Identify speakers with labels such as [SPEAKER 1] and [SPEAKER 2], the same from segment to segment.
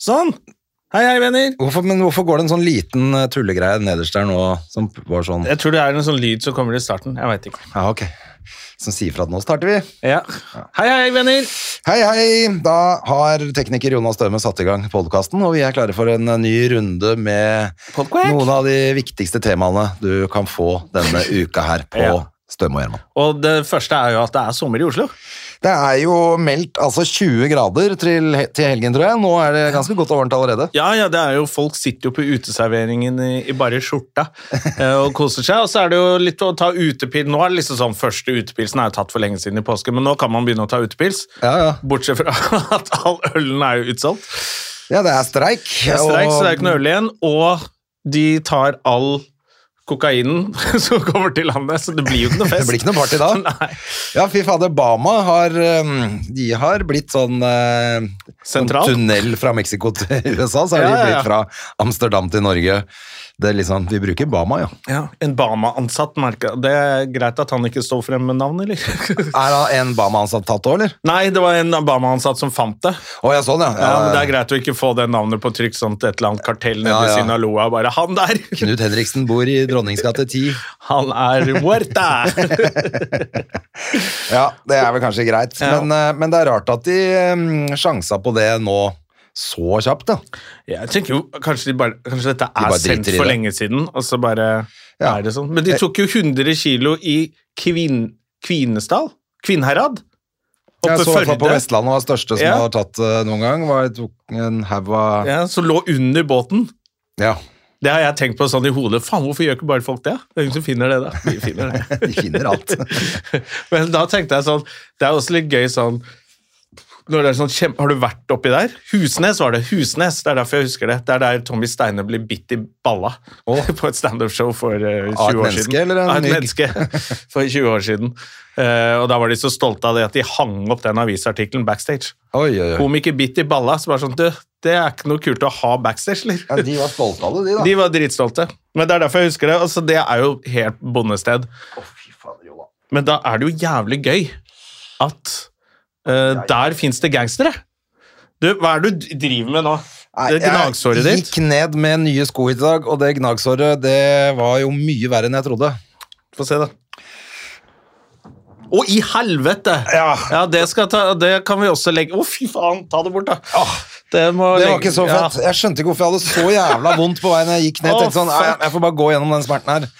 [SPEAKER 1] Sånn! Hei, hei, venner!
[SPEAKER 2] Hvorfor, men hvorfor går det en sånn liten eh, tullegreie nederst der nå, som var sånn
[SPEAKER 1] Jeg tror det er en sånn lyd som kommer i starten. Jeg vet ikke.
[SPEAKER 2] Ja, ok. Som sier fra at nå starter vi.
[SPEAKER 1] Ja. Hei, hei, venner!
[SPEAKER 2] Hei, hei! Da har tekniker Jonas Døme satt i gang podkasten, og vi er klare for en eh, ny runde med
[SPEAKER 1] Podquack.
[SPEAKER 2] noen av de viktigste temaene du kan få denne uka her på
[SPEAKER 1] Ja.
[SPEAKER 2] Støme og Gjerman.
[SPEAKER 1] Og det første er jo at det er sommer i Oslo.
[SPEAKER 2] Det er jo meldt altså 20 grader til, he- til helgen, tror jeg. Nå er det ganske godt og varmt allerede.
[SPEAKER 1] Ja, ja, det er jo Folk sitter jo på uteserveringen i, i bare skjorta eh, og koser seg. Og så er det jo litt å ta utepil. Nå er det liksom sånn, Første utepilsen er jo tatt for lenge siden i påske, men nå kan man begynne å ta utepils.
[SPEAKER 2] Ja, ja.
[SPEAKER 1] Bortsett fra at all ølen er jo utsolgt.
[SPEAKER 2] ja det er streik.
[SPEAKER 1] Det er streik, så det er ikke
[SPEAKER 2] og-
[SPEAKER 1] noe øl igjen. Og de tar all kokainen som kommer til landet, så det blir jo ikke noe fest.
[SPEAKER 2] Det blir ikke noe party da.
[SPEAKER 1] Nei.
[SPEAKER 2] Ja, fy fader, Bama har, um, de har blitt sånn eh, sånn
[SPEAKER 1] Sentral.
[SPEAKER 2] tunnel fra Mexico til USA, så har de
[SPEAKER 1] Ja, ja, ja.
[SPEAKER 2] blitt fra Amsterdam til Norge. Det er liksom, vi bruker Bama, ja.
[SPEAKER 1] Ja, En Bama-ansatt merker jeg. Det er greit at han ikke står frem med navn, eller?
[SPEAKER 2] Er det en Bama-ansatt tatt òg, eller?
[SPEAKER 1] Nei, det var en Bama-ansatt som fant det.
[SPEAKER 2] Å ja, sånn, ja.
[SPEAKER 1] Ja, men Det er greit å ikke få det navnet på trykk, sånn at et eller annet kartell nede
[SPEAKER 2] Ja, ja.
[SPEAKER 1] i Sinaloa bare Han der!
[SPEAKER 2] Knut Henriksen bor i Dronningsgate 10.
[SPEAKER 1] Han er Huerta!
[SPEAKER 2] Ja, det er vel kanskje greit,
[SPEAKER 1] Ja.
[SPEAKER 2] men, eh, men det er rart at de um, sjansa på det nå så kjapt, da.
[SPEAKER 1] Jeg tenker jo kanskje, de bare, kanskje dette er
[SPEAKER 2] bare
[SPEAKER 1] sendt
[SPEAKER 2] driter i
[SPEAKER 1] for
[SPEAKER 2] det.
[SPEAKER 1] lenge siden, og så bare
[SPEAKER 2] Ja.
[SPEAKER 1] er det sånn. Men de tok jo 100 kilo i Kvin, Kvinesdal? Kvinnherad? Oppe
[SPEAKER 2] Jeg så i hvert fall på
[SPEAKER 1] Førde.
[SPEAKER 2] Vestlandet var det største som
[SPEAKER 1] Ja.
[SPEAKER 2] har tatt eh, noen gang. Var, tok en haug av
[SPEAKER 1] Ja, som lå under båten.
[SPEAKER 2] Ja,
[SPEAKER 1] Det har jeg tenkt på sånn i hodet. Faen, hvorfor gjør ikke bare folk det? Det er ingen som finner det, da. Vi finner det.
[SPEAKER 2] de finner alt.
[SPEAKER 1] Men da tenkte jeg sånn Det er også litt gøy sånn når det er sånn kjem- Har du vært oppi der? Husnes var det. Husnes, Det er derfor jeg husker det. Det er der Tommy Steine ble bitt i balla på et standup-show for eh, 20
[SPEAKER 2] Av et
[SPEAKER 1] år
[SPEAKER 2] menneske,
[SPEAKER 1] siden.
[SPEAKER 2] eller en
[SPEAKER 1] Av et
[SPEAKER 2] mygg?
[SPEAKER 1] menneske for 20 år siden. Eh, og da var de så stolte av det at de hang opp den avisartikkelen backstage.
[SPEAKER 2] Oi, oi, oi.
[SPEAKER 1] Komiker bitt i balla. Så bare sånn Du, det er ikke noe kult å ha backstage, eller?
[SPEAKER 2] Ja, de var stolte av det, de, da.
[SPEAKER 1] De var dritstolte. Men det er derfor jeg husker det. Altså, det er jo helt bondested. Men da er det jo jævlig gøy at eh, der fins det gangstere. Du, hva er det du driver med nå?
[SPEAKER 2] Nei,
[SPEAKER 1] det gnagsåret
[SPEAKER 2] jeg
[SPEAKER 1] ditt?
[SPEAKER 2] gikk ned med nye sko i dag, og det gnagsåret det var jo mye verre enn jeg trodde.
[SPEAKER 1] Få se, da. Å, i helvete!
[SPEAKER 2] Ja.
[SPEAKER 1] det, skal ta, det kan vi også legge Å, fy faen! Ta det bort, da. det, må
[SPEAKER 2] Det var
[SPEAKER 1] legge-
[SPEAKER 2] ikke så
[SPEAKER 1] ja.
[SPEAKER 2] fett. Jeg skjønte ikke hvorfor jeg hadde så jævla vondt på veien jeg gikk ned. Jeg tenkte sånn,
[SPEAKER 1] Å,
[SPEAKER 2] nei,
[SPEAKER 1] fuck.
[SPEAKER 2] jeg får bare gå gjennom den smerten her.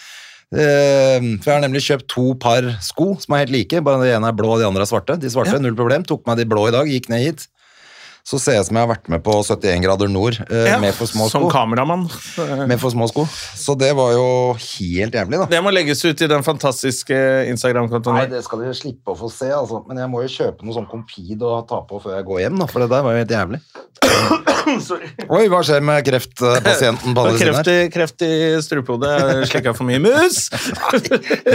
[SPEAKER 2] Eh, For jeg har nemlig kjøpt to par sko som er helt like, bare den ene er blå og de andre er svarte. De svarte, null problem. Tok meg de blå i dag, gikk ned hit. Så ser jeg ut som jeg har vært med på 71 grader nord eh,
[SPEAKER 1] Ja,
[SPEAKER 2] med for små
[SPEAKER 1] Som
[SPEAKER 2] sko.
[SPEAKER 1] kameramann.
[SPEAKER 2] Med for små sko. Så det var jo helt jævlig, da.
[SPEAKER 1] Det må legges ut i den fantastiske Instagram-kontoen.
[SPEAKER 2] Nei,
[SPEAKER 1] vår.
[SPEAKER 2] det skal dere slippe å få se, altså. Men jeg må jo kjøpe noe sånn Compede og ta på før jeg går hjem, da, for det der var jo helt jævlig. Oi, hva skjer med kreftpasienten på
[SPEAKER 1] Og
[SPEAKER 2] andre siden
[SPEAKER 1] kreft
[SPEAKER 2] her?
[SPEAKER 1] i, kreft i strupehodet. Slikka for mye mus!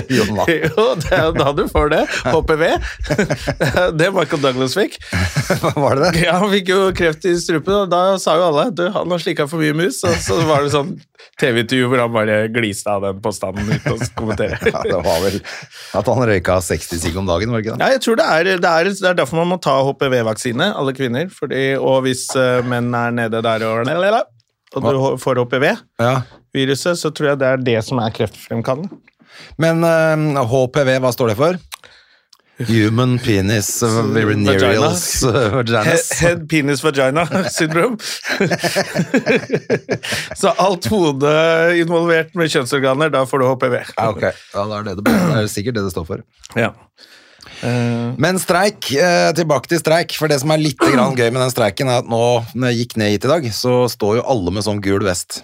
[SPEAKER 2] Jonna.
[SPEAKER 1] jo, det er jo da du får det. HPV. det Michael Douglas fikk.
[SPEAKER 2] Var det det?
[SPEAKER 1] Ja, Han fikk jo kreft i strupen, og da sa jo alle du, han har slikka for mye mus. Og så var det sånn TV-intervju hvor han bare gliste av den påstanden uten å kommentere.
[SPEAKER 2] Ja, det var vel at han røyka 60 sigg om dagen, var det ikke det?
[SPEAKER 1] Ja, jeg tror det er, det, er, det er derfor man må ta HPV-vaksine, alle kvinner. Fordi, og hvis eh, menn er nede der og, og du får HPV-viruset,
[SPEAKER 2] Ja.
[SPEAKER 1] så tror jeg det er det som er kreftfremkallende.
[SPEAKER 2] Men eh, HPV, hva står det for? Human penis venereals eh, vaginas.
[SPEAKER 1] He- Head, penis, vagina syndrom. så alt hodet involvert med kjønnsorganer, da får du HPV.
[SPEAKER 2] Ja, Ah, ok. Ja, da er det, det, det er jo sikkert det det står for.
[SPEAKER 1] Ja.
[SPEAKER 2] Men streik, eh, tilbake til streik, for det som er litt grann gøy med den streiken, er at nå, når jeg gikk ned hit i dag, så står jo alle med sånn gul vest.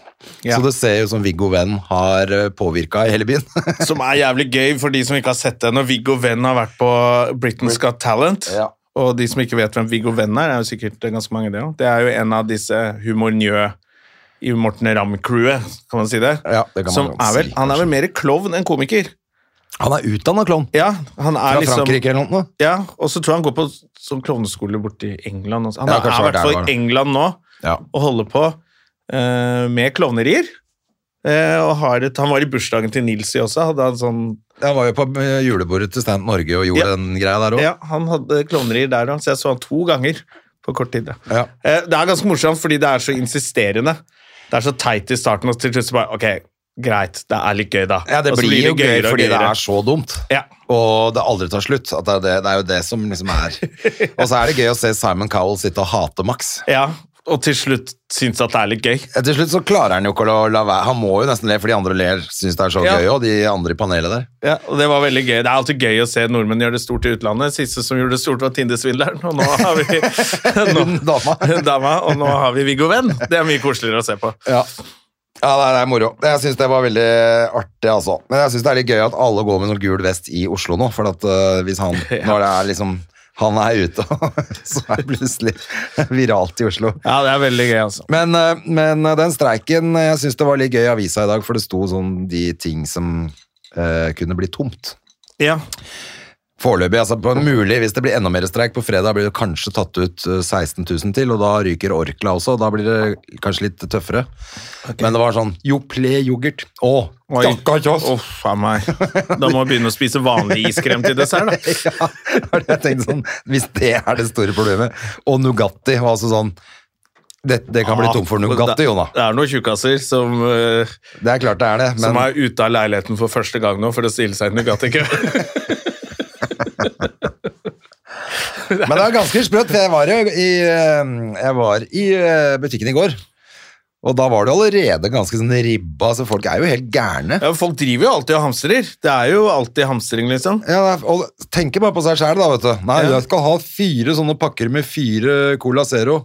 [SPEAKER 1] Ja.
[SPEAKER 2] Så det ser jo som Viggo Venn har eh, påvirka i hele byen.
[SPEAKER 1] Som er jævlig gøy for de som ikke har sett det. Når Viggo Venn har vært på Britain's Got Talent,
[SPEAKER 2] Ja.
[SPEAKER 1] Og de som ikke vet hvem Viggo Venn er, er jo sikkert ganske mange det også. Det er jo en av disse Humor Njø i Morten Ramm-crewet, kan man si det.
[SPEAKER 2] Ja, det kan man
[SPEAKER 1] som
[SPEAKER 2] godt
[SPEAKER 1] er vel,
[SPEAKER 2] si,
[SPEAKER 1] han er vel mer klovn enn komiker.
[SPEAKER 2] Han er utdanna klovn.
[SPEAKER 1] Ja, han er
[SPEAKER 2] Fra
[SPEAKER 1] liksom...
[SPEAKER 2] Frankrike eller noe.
[SPEAKER 1] Ja, og så tror jeg han går på sånn klovneskole borti England. Også. Han
[SPEAKER 2] Ja,
[SPEAKER 1] er-
[SPEAKER 2] kanskje
[SPEAKER 1] er
[SPEAKER 2] det
[SPEAKER 1] i
[SPEAKER 2] er
[SPEAKER 1] hvert fall
[SPEAKER 2] der
[SPEAKER 1] i
[SPEAKER 2] det
[SPEAKER 1] England nå
[SPEAKER 2] Ja.
[SPEAKER 1] og holder på eh, med klovnerier. Eh, og har et, han var i bursdagen til Nilsi også. Hadde han, sånn,
[SPEAKER 2] Han var jo på eh, julebordet til Stand Norge og gjorde
[SPEAKER 1] Ja.
[SPEAKER 2] den greia der òg.
[SPEAKER 1] ja, han hadde klovnerier der òg, så jeg så han to ganger på kort tid. da.
[SPEAKER 2] Ja.
[SPEAKER 1] Eh, det er ganske morsomt, fordi det er så insisterende. Det er så teit i starten, og til slutt så bare Ok, greit, det er litt gøy, da.
[SPEAKER 2] Ja, det
[SPEAKER 1] Og så
[SPEAKER 2] blir jo gøy
[SPEAKER 1] gøyere og
[SPEAKER 2] fordi det
[SPEAKER 1] gøyere.
[SPEAKER 2] er så dumt.
[SPEAKER 1] Ja.
[SPEAKER 2] Og det aldri tar slutt. At det, er det, det er jo det som liksom er Og så er det gøy å se Simon Cowell sitte og hate Max.
[SPEAKER 1] ja, og til slutt syns at det er litt gøy.
[SPEAKER 2] Ja, Til slutt så klarer han jo ikke å la- la være. Han må jo nesten le, for de andre ler, syns det er så
[SPEAKER 1] Ja.
[SPEAKER 2] gøy, og de andre i panelet der.
[SPEAKER 1] Ja, og Det var veldig gøy. Det er alltid gøy å se nordmenn gjøre det stort i utlandet. Siste som gjorde det stort, var Tinder-svindleren, og nå har vi nå,
[SPEAKER 2] Hun dama.
[SPEAKER 1] dama, Og nå har vi Viggo Venn. Det er mye koseligere å se på.
[SPEAKER 2] Ja. Ja, det er, det er moro. Jeg syns det var veldig artig, altså. Men jeg syns det er litt gøy at alle går med sånn gul vest i Oslo nå, for at øh, hvis han Når det er liksom Han er ute, så er det plutselig viralt i Oslo.
[SPEAKER 1] Ja, det er veldig gøy, altså.
[SPEAKER 2] Men, øh, men øh, den streiken øh, Jeg syns det var litt gøy i avisa i dag, for det sto sånn de ting som øh, kunne bli tomt.
[SPEAKER 1] Ja,
[SPEAKER 2] Foreløpig, altså på mulig, hvis det blir enda mer streik på fredag, blir det kanskje tatt ut eh, 16 000 til, og da ryker Orkla også, og da blir det kanskje litt tøffere. Men det var sånn, jo ple yoghurt, å,
[SPEAKER 1] Oi.
[SPEAKER 2] stakkars oss!
[SPEAKER 1] Uff a meg. Da må vi begynne å spise vanlig iskrem til dessert, da.
[SPEAKER 2] Ja, det var det jeg tenkte sånn, hvis det er det store problemet. Og Nugatti var altså sånn, det, det kan bli tomt for Nugatti, Jona.
[SPEAKER 1] Ah, Det er noen tjukkaser som, eh,
[SPEAKER 2] Det er klart det er det,
[SPEAKER 1] som
[SPEAKER 2] men
[SPEAKER 1] er ute av leiligheten for første gang nå for å stille seg i Nugatti-kø.
[SPEAKER 2] Men det er ganske sprøtt. for Jeg var jo i, eh, jeg var i eh, butikken i går, og da var det allerede ganske sånn ribba, så folk er jo helt gærne.
[SPEAKER 1] Ja, folk driver jo alltid og hamstrer. Det er jo alltid hamstring, liksom.
[SPEAKER 2] Ja, det er- og tenker bare på seg selv da, vet du. Nei,
[SPEAKER 1] Ja.
[SPEAKER 2] jeg skal ha fire sånne pakker med fire Cola Zero.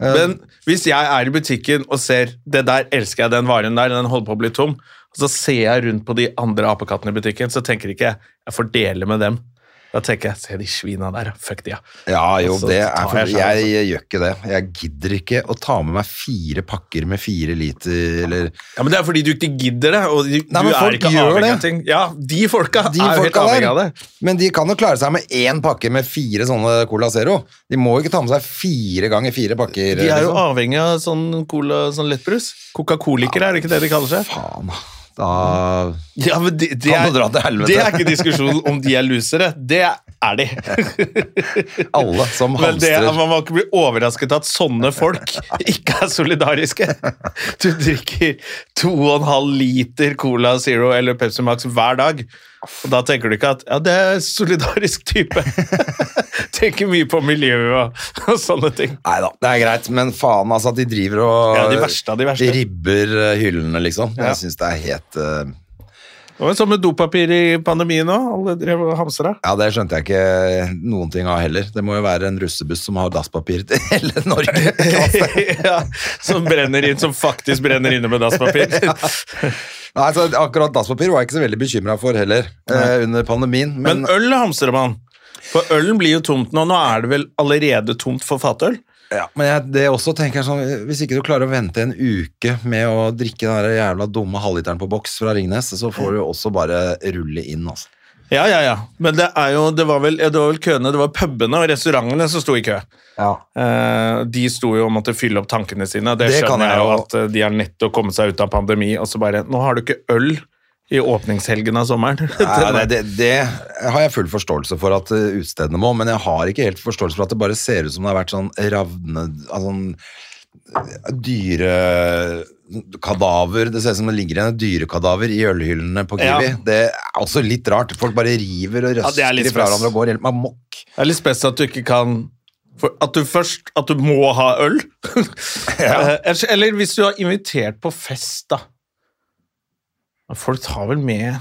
[SPEAKER 2] Eh,
[SPEAKER 1] Men hvis jeg er i butikken og ser det der elsker jeg, den varen der, den holder på å bli tom, og så ser jeg rundt på de andre apekattene i butikken, så tenker ikke jeg jeg får dele med dem. Da tenker jeg se de svina der, fuck de, ja.
[SPEAKER 2] ja, jo,
[SPEAKER 1] altså,
[SPEAKER 2] det er
[SPEAKER 1] tar
[SPEAKER 2] for,
[SPEAKER 1] jeg
[SPEAKER 2] jeg,
[SPEAKER 1] selv,
[SPEAKER 2] gjør ikke det. Jeg gidder ikke å ta med meg fire pakker med fire liter, eller...
[SPEAKER 1] Ja, Men det er fordi du ikke gidder det, og du,
[SPEAKER 2] Nei, men
[SPEAKER 1] du
[SPEAKER 2] folk
[SPEAKER 1] er ikke
[SPEAKER 2] gjør
[SPEAKER 1] avhengig
[SPEAKER 2] det.
[SPEAKER 1] av ting. Ja, de folka
[SPEAKER 2] De
[SPEAKER 1] er jo helt
[SPEAKER 2] folka
[SPEAKER 1] avhengig av det.
[SPEAKER 2] der, men de kan jo klare seg med én pakke med fire sånne Cola Zero. De må jo ikke ta med seg fire ganger fire pakker.
[SPEAKER 1] De er jo
[SPEAKER 2] liksom.
[SPEAKER 1] avhengig av sånn cola, sånn lettbrus. Coca-colikere, er det ikke det de kaller seg?
[SPEAKER 2] Faen, da...
[SPEAKER 1] Ja, men de, de
[SPEAKER 2] Kan
[SPEAKER 1] er,
[SPEAKER 2] du dra til helvete?
[SPEAKER 1] det er ikke diskusjonen om de er lusere. Det er de.
[SPEAKER 2] Alle som
[SPEAKER 1] Men det,
[SPEAKER 2] hamstrer.
[SPEAKER 1] man må ikke bli overrasket at sånne folk ikke er solidariske. Du drikker 2,5 liter Cola Zero eller Pepsi Max hver dag. Og da tenker du ikke at ja, det er en solidarisk type. tenker mye på miljøet og, og sånne ting.
[SPEAKER 2] Neida, det er greit, men faen altså at de driver og
[SPEAKER 1] Ja, de verste av de verste.
[SPEAKER 2] ribber eh, hyllene, liksom.
[SPEAKER 1] Ja.
[SPEAKER 2] Jeg syns det er helt eh,
[SPEAKER 1] Det var jo sånn med dopapir i pandemien òg. Alle drev og hamstra.
[SPEAKER 2] Ja, det skjønte jeg ikke noen ting av heller. Det må jo være en russebuss som har dasspapir til hele Norge.
[SPEAKER 1] ja, som brenner inn, som faktisk brenner inne med dasspapir.
[SPEAKER 2] Nei, så akkurat dasspapir var jeg ikke så veldig bekymra for heller eh, under pandemien. Men,
[SPEAKER 1] Men øl hamstrer man. For ølen blir jo tomt nå. Nå er det vel allerede tomt for fatøl?
[SPEAKER 2] ja, men jeg, det også tenker jeg sånn Hvis ikke du klarer å vente en uke med å drikke den der jævla dumme halvliteren på boks fra Ringnes, så får du jo også bare rulle inn, altså.
[SPEAKER 1] Ja, ja, ja. Men det, er jo, det, var vel, ja, det var vel køene, det var pubene og restaurantene som sto i kø.
[SPEAKER 2] Ja.
[SPEAKER 1] Eh, de sto jo og måtte fylle opp tankene sine. Det,
[SPEAKER 2] Det kan
[SPEAKER 1] skjønner
[SPEAKER 2] jeg
[SPEAKER 1] jeg jo
[SPEAKER 2] jo.
[SPEAKER 1] at eh, de har nettopp kommet seg ut av pandemi, og så bare Nå har du ikke øl i åpningshelgen av sommeren.
[SPEAKER 2] Nei, nei, det, det har jeg full forståelse for at eh, utestedene må, men jeg har ikke helt forståelse for at det bare ser ut som det har vært sånn ravne... Altså, sånn dyrekadaver. sånn Det ser ut som det ligger igjen et dyrekadaver i ølhyllene på Kiwi.
[SPEAKER 1] Ja.
[SPEAKER 2] Det er også litt rart. Folk bare river og
[SPEAKER 1] Ja, det
[SPEAKER 2] røster
[SPEAKER 1] er litt
[SPEAKER 2] fra
[SPEAKER 1] stress.
[SPEAKER 2] hverandre og går helt amok.
[SPEAKER 1] Det er litt spesielt at du ikke kan for At du først At du må ha øl. Eh, ellers- Eller hvis du har invitert på fest, da. Men Folk tar vel med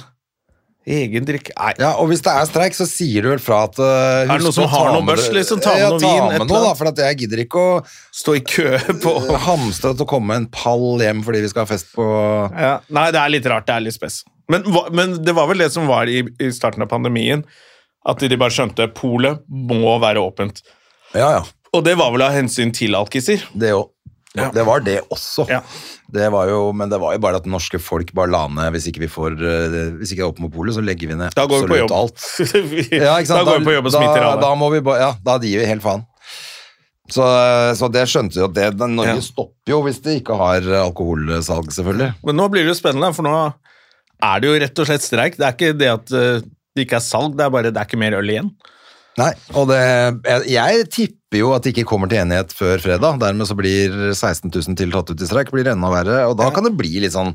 [SPEAKER 1] egen drikke Nei.
[SPEAKER 2] Ja, og hvis det er streik, så sier du vel fra at eh,
[SPEAKER 1] det
[SPEAKER 2] husk
[SPEAKER 1] noen som
[SPEAKER 2] å ta
[SPEAKER 1] har noe
[SPEAKER 2] med
[SPEAKER 1] børs,
[SPEAKER 2] det-
[SPEAKER 1] liksom? Ta med
[SPEAKER 2] ja,
[SPEAKER 1] noe
[SPEAKER 2] ta
[SPEAKER 1] vin, et
[SPEAKER 2] med
[SPEAKER 1] eller
[SPEAKER 2] noe, da,
[SPEAKER 1] annet.
[SPEAKER 2] for at jeg gidder ikke å
[SPEAKER 1] Stå i kø på
[SPEAKER 2] hamstre til å komme med en pall hjem fordi vi skal ha fest på
[SPEAKER 1] ja. Nei, det er litt rart. Det er litt spes. Men, hva- men det var vel det som var i, i starten av pandemien. At de bare skjønte polet må være åpent.
[SPEAKER 2] Ja, ja.
[SPEAKER 1] Og det var vel av hensyn til alkiser.
[SPEAKER 2] Det òg.
[SPEAKER 1] Ja.
[SPEAKER 2] Det var det også.
[SPEAKER 1] Ja.
[SPEAKER 2] Det var jo, men det var jo bare at det norske folk bare la ned hvis ikke vi får eh, Hvis ikke det er åpent monopolet, så legger vi ned
[SPEAKER 1] Da går vi på
[SPEAKER 2] absolutt
[SPEAKER 1] jobb.
[SPEAKER 2] alt.
[SPEAKER 1] ja, ikke sant? Da går vi på jobb og smitter
[SPEAKER 2] da,
[SPEAKER 1] alle.
[SPEAKER 2] da må vi bare Ja, da gir vi helt faen. Så, eh, så det skjønte jo at det, den- Norge
[SPEAKER 1] Ja.
[SPEAKER 2] stopper jo hvis de ikke har eh, alkoholsalg, selvfølgelig.
[SPEAKER 1] Men nå blir det jo spennende, for nå er det jo rett og slett streik. Det er ikke det at eh, det ikke er salg, det er bare det er ikke mer øl igjen.
[SPEAKER 2] Nei, og det Jeg, jeg tipper jo at de ikke kommer til enighet før fredag. Dermed så blir 16 000 til tatt ut i streik, blir det enda verre. Og da kan det bli litt sånn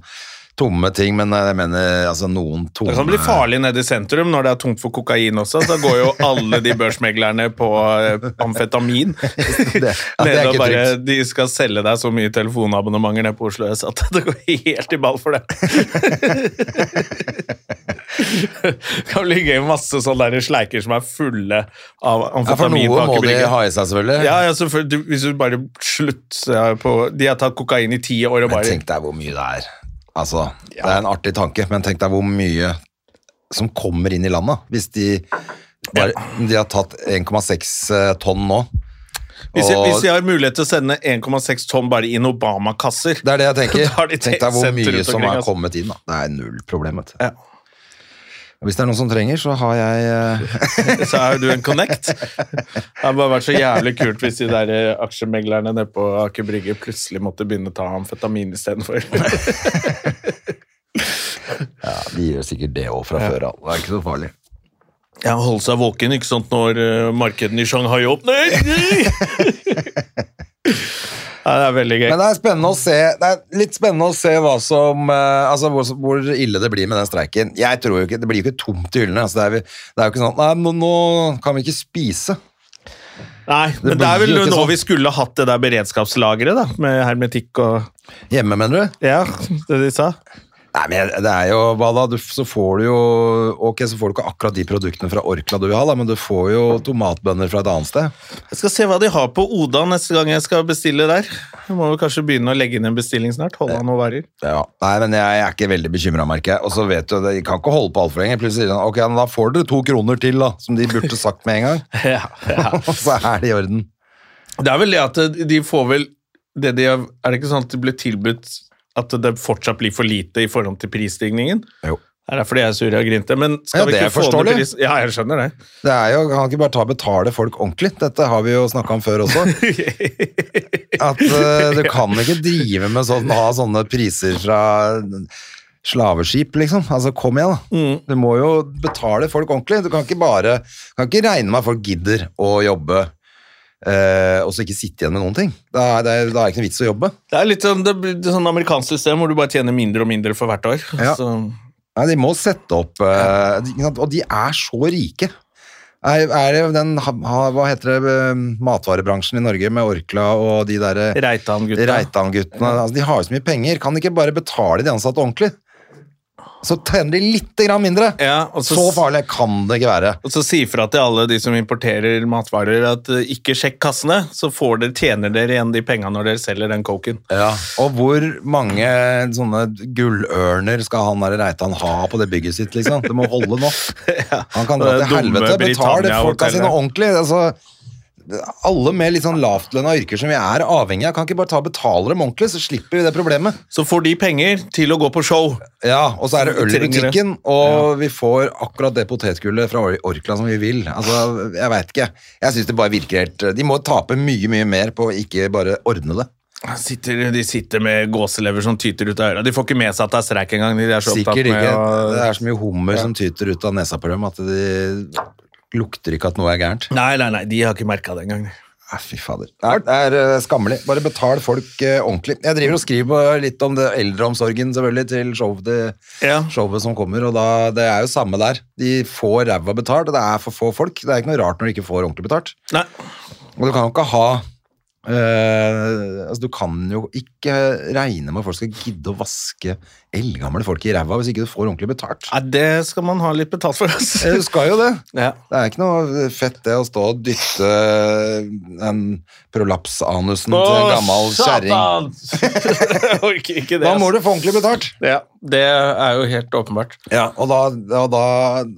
[SPEAKER 2] tomme ting, men jeg mener altså noen tomme
[SPEAKER 1] Det kan bli farlig nede i sentrum når det er tomt for kokain også. Så går jo alle de børsmeglerne på eh, amfetamin.
[SPEAKER 2] det er
[SPEAKER 1] Nede og
[SPEAKER 2] ikke
[SPEAKER 1] bare,
[SPEAKER 2] trygt.
[SPEAKER 1] De skal selge deg så mye telefonabonnementer nede på Oslo S at det går helt i ball for det. det kan bli gøy med masse sånne der sleiker som er fulle av
[SPEAKER 2] Ja, for
[SPEAKER 1] amfetamin.
[SPEAKER 2] noe
[SPEAKER 1] på
[SPEAKER 2] må de
[SPEAKER 1] akebrygget.
[SPEAKER 2] ha i seg, selvfølgelig.
[SPEAKER 1] Ja, ja, selvfølgelig. Du- Hvis du bare slutter på De har tatt kokain i ti år og
[SPEAKER 2] Men
[SPEAKER 1] bare
[SPEAKER 2] tenk deg hvor mye det er. Altså, Det er en artig tanke, men tenk deg hvor mye som kommer inn i landet. Hvis de bare, De har tatt 1,6 eh, tonn nå.
[SPEAKER 1] Hvis de,
[SPEAKER 2] Og-
[SPEAKER 1] hvis de har mulighet til å sende 1,6 tonn bare i Obama-kasser
[SPEAKER 2] Det er det jeg tenker.
[SPEAKER 1] Da har de
[SPEAKER 2] Tenk deg hvor
[SPEAKER 1] sendt rundt
[SPEAKER 2] mye som
[SPEAKER 1] omkring,
[SPEAKER 2] er
[SPEAKER 1] altså.
[SPEAKER 2] kommet inn. Da. Det er null problem. Vet du.
[SPEAKER 1] Ja.
[SPEAKER 2] Hvis det er noen som trenger, så har jeg eh,
[SPEAKER 1] så er jo du en connect. Det hadde bare vært så jævlig kult hvis de der eh, aksjemeglerne nede på Aker Brygge plutselig måtte begynne å ta amfetamin istedenfor.
[SPEAKER 2] ja, De gjør sikkert det òg fra før av. Det er ikke så farlig.
[SPEAKER 1] Ja, holde seg våken ikke sant, når eh, markedene i Shanghai åpner! ja, det er veldig gøy.
[SPEAKER 2] Men det er spennende å se Det er litt spennende å se hva som eh, Altså hvor, hvor ille det blir med den streiken. Jeg tror jo ikke Det blir jo ikke tomt i hyllene. Altså, det, er, jo- det er jo ikke sånn Nei, nå, nå kan vi ikke spise.
[SPEAKER 1] Nei, men det er
[SPEAKER 2] blir
[SPEAKER 1] vel
[SPEAKER 2] jo ikke
[SPEAKER 1] nå
[SPEAKER 2] sånn.
[SPEAKER 1] vi skulle hatt det der beredskapslageret, da, med hermetikk og
[SPEAKER 2] Hjemme, mener du?
[SPEAKER 1] Ja, det de sa.
[SPEAKER 2] Nei, men det er jo Hva da? Du, så får du jo Ok, så får du ikke akkurat de produktene fra Orkla du vil ha, da, men du får jo tomatbønner fra et annet sted.
[SPEAKER 1] Jeg skal se hva de har på Oda neste gang jeg skal bestille der. Jeg må vel kanskje begynne å legge inn en bestilling snart. Holde av noen varer.
[SPEAKER 2] Ja. Nei, men jeg er ikke veldig bekymra, merker jeg. Og så vet du, de kan ikke holde på altfor lenge. Plutselig sier de ok, men da får dere to kroner til, da, som de burde sagt med en gang.
[SPEAKER 1] Ja, ja.
[SPEAKER 2] Og så er det i orden.
[SPEAKER 1] Det er vel det at de får vel det de, Er det ikke sånn at de blir tilbudt at det fortsatt blir for lite i forhold til prisstigningen?
[SPEAKER 2] Jo.
[SPEAKER 1] Det er derfor de er sure og grinte. Men skal
[SPEAKER 2] Ja,
[SPEAKER 1] vi
[SPEAKER 2] det
[SPEAKER 1] ikke
[SPEAKER 2] er
[SPEAKER 1] få ned
[SPEAKER 2] forståelig.
[SPEAKER 1] pris... Ja, jeg skjønner det.
[SPEAKER 2] Det er jo, kan ikke bare ta og betale folk ordentlig. Dette har vi jo snakka om før også. At eh, du kan ikke drive med sånn, ha sånne priser fra slaveskip, liksom. Altså, kom igjen, da. Du må jo betale folk ordentlig. Du kan ikke bare kan ikke regne med at folk gidder å jobbe eh, og så ikke sitte igjen med noen ting. Da er det, da er det ikke noe vits å jobbe.
[SPEAKER 1] Det er litt sånn, det blir et sånn amerikansk system hvor du bare tjener mindre og mindre for hvert år.
[SPEAKER 2] Ja.
[SPEAKER 1] Så,
[SPEAKER 2] Nei, de må sette opp eh, de- ikke sant? Og de er så rike. Er, er det den, ha, ha- hva heter det, eh, matvarebransjen i Norge med Orkla og de derre
[SPEAKER 1] Reitan-gutta.
[SPEAKER 2] Reitan-guttene. Altså, de har jo så mye penger. Kan de ikke bare betale de ansatte ordentlig? Så tjener de litt grann mindre.
[SPEAKER 1] Ja, og
[SPEAKER 2] Så farlig kan det ikke være.
[SPEAKER 1] Og så si fra til alle de som importerer matvarer at eh, ikke sjekk kassene, så får dere, tjener dere igjen de pengene når dere selger den coken.
[SPEAKER 2] Og hvor mange sånne gullørner skal han der Reitan ha på det bygget sitt, liksom? Det må holde nå. Han kan dra
[SPEAKER 1] det
[SPEAKER 2] til
[SPEAKER 1] dumme
[SPEAKER 2] helvete. Betale folka
[SPEAKER 1] Britannia-hotellet.
[SPEAKER 2] sine ordentlig. Altså, alle med litt sånn lavtlønna yrker som vi er avhengig av, kan ikke bare ta og betale dem ordentlig, så slipper vi det problemet.
[SPEAKER 1] Så får de penger til å gå på show.
[SPEAKER 2] Ja, og så er det
[SPEAKER 1] Vi
[SPEAKER 2] øl i
[SPEAKER 1] trenger det.
[SPEAKER 2] butikken, og vi får akkurat det potetgullet fra Or- Orkla som vi vil. Altså, jeg veit ikke. Jeg syns det bare virker helt De må tape mye, mye mer på å ikke bare ordne det.
[SPEAKER 1] Sitter, de sitter med gåselever som tyter ut av øra. De får ikke med seg at det er streik engang. De er så opptatt
[SPEAKER 2] Sikkert
[SPEAKER 1] med
[SPEAKER 2] ikke.
[SPEAKER 1] å-
[SPEAKER 2] Det er så mye hummer som tyter ut av nesa på dem at de lukter ikke at noe er gærent.
[SPEAKER 1] Nei, nei, nei, de har ikke merka det engang.
[SPEAKER 2] Nei, fy fader. Nei, det er eh, skammelig. Bare betal folk eh, ordentlig. Jeg driver og skriver eh, litt om det, eldreomsorgen selvfølgelig til show, det,
[SPEAKER 1] Ja.
[SPEAKER 2] showet som kommer, og da, det er jo samme der. De får ræva betalt, og det er for få folk. Det er ikke noe rart når de ikke får ordentlig betalt.
[SPEAKER 1] Nei.
[SPEAKER 2] Og du kan jo ikke ha eh, Altså, du kan jo ikke regne med at folk skal gidde å vaske eldgamle folk i ræva hvis ikke du får ordentlig betalt.
[SPEAKER 1] Nei, det skal man ha litt betalt for, altså. ass.
[SPEAKER 2] Eh, Du skal jo det.
[SPEAKER 1] Ja.
[SPEAKER 2] Det er ikke noe fett det å stå og dytte eh, en prolapsanusen til en gammel kjerring.
[SPEAKER 1] satan! Jeg orker ikke det.
[SPEAKER 2] Da
[SPEAKER 1] ass.
[SPEAKER 2] må du få ordentlig betalt.
[SPEAKER 1] Ja, det er jo helt åpenbart.
[SPEAKER 2] Ja, og, da, og, da,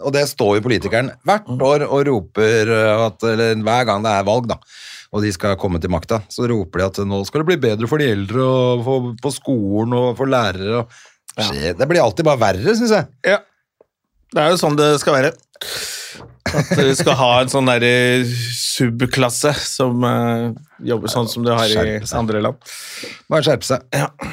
[SPEAKER 2] og det står jo politikeren hvert år og roper eh, at, eller hver gang det er valg, da, og de skal komme til makta, så roper de at nå skal det bli bedre for de eldre, og for, på skolen og for lærere. Og, Skje- Det blir alltid bare verre, syns jeg.
[SPEAKER 1] Ja. Det er jo sånn det skal være. At du skal ha en sånn derre subklasse som eh, jobber sånn som du har i
[SPEAKER 2] Skjerpe seg.
[SPEAKER 1] andre land.
[SPEAKER 2] Bare skjerpe seg.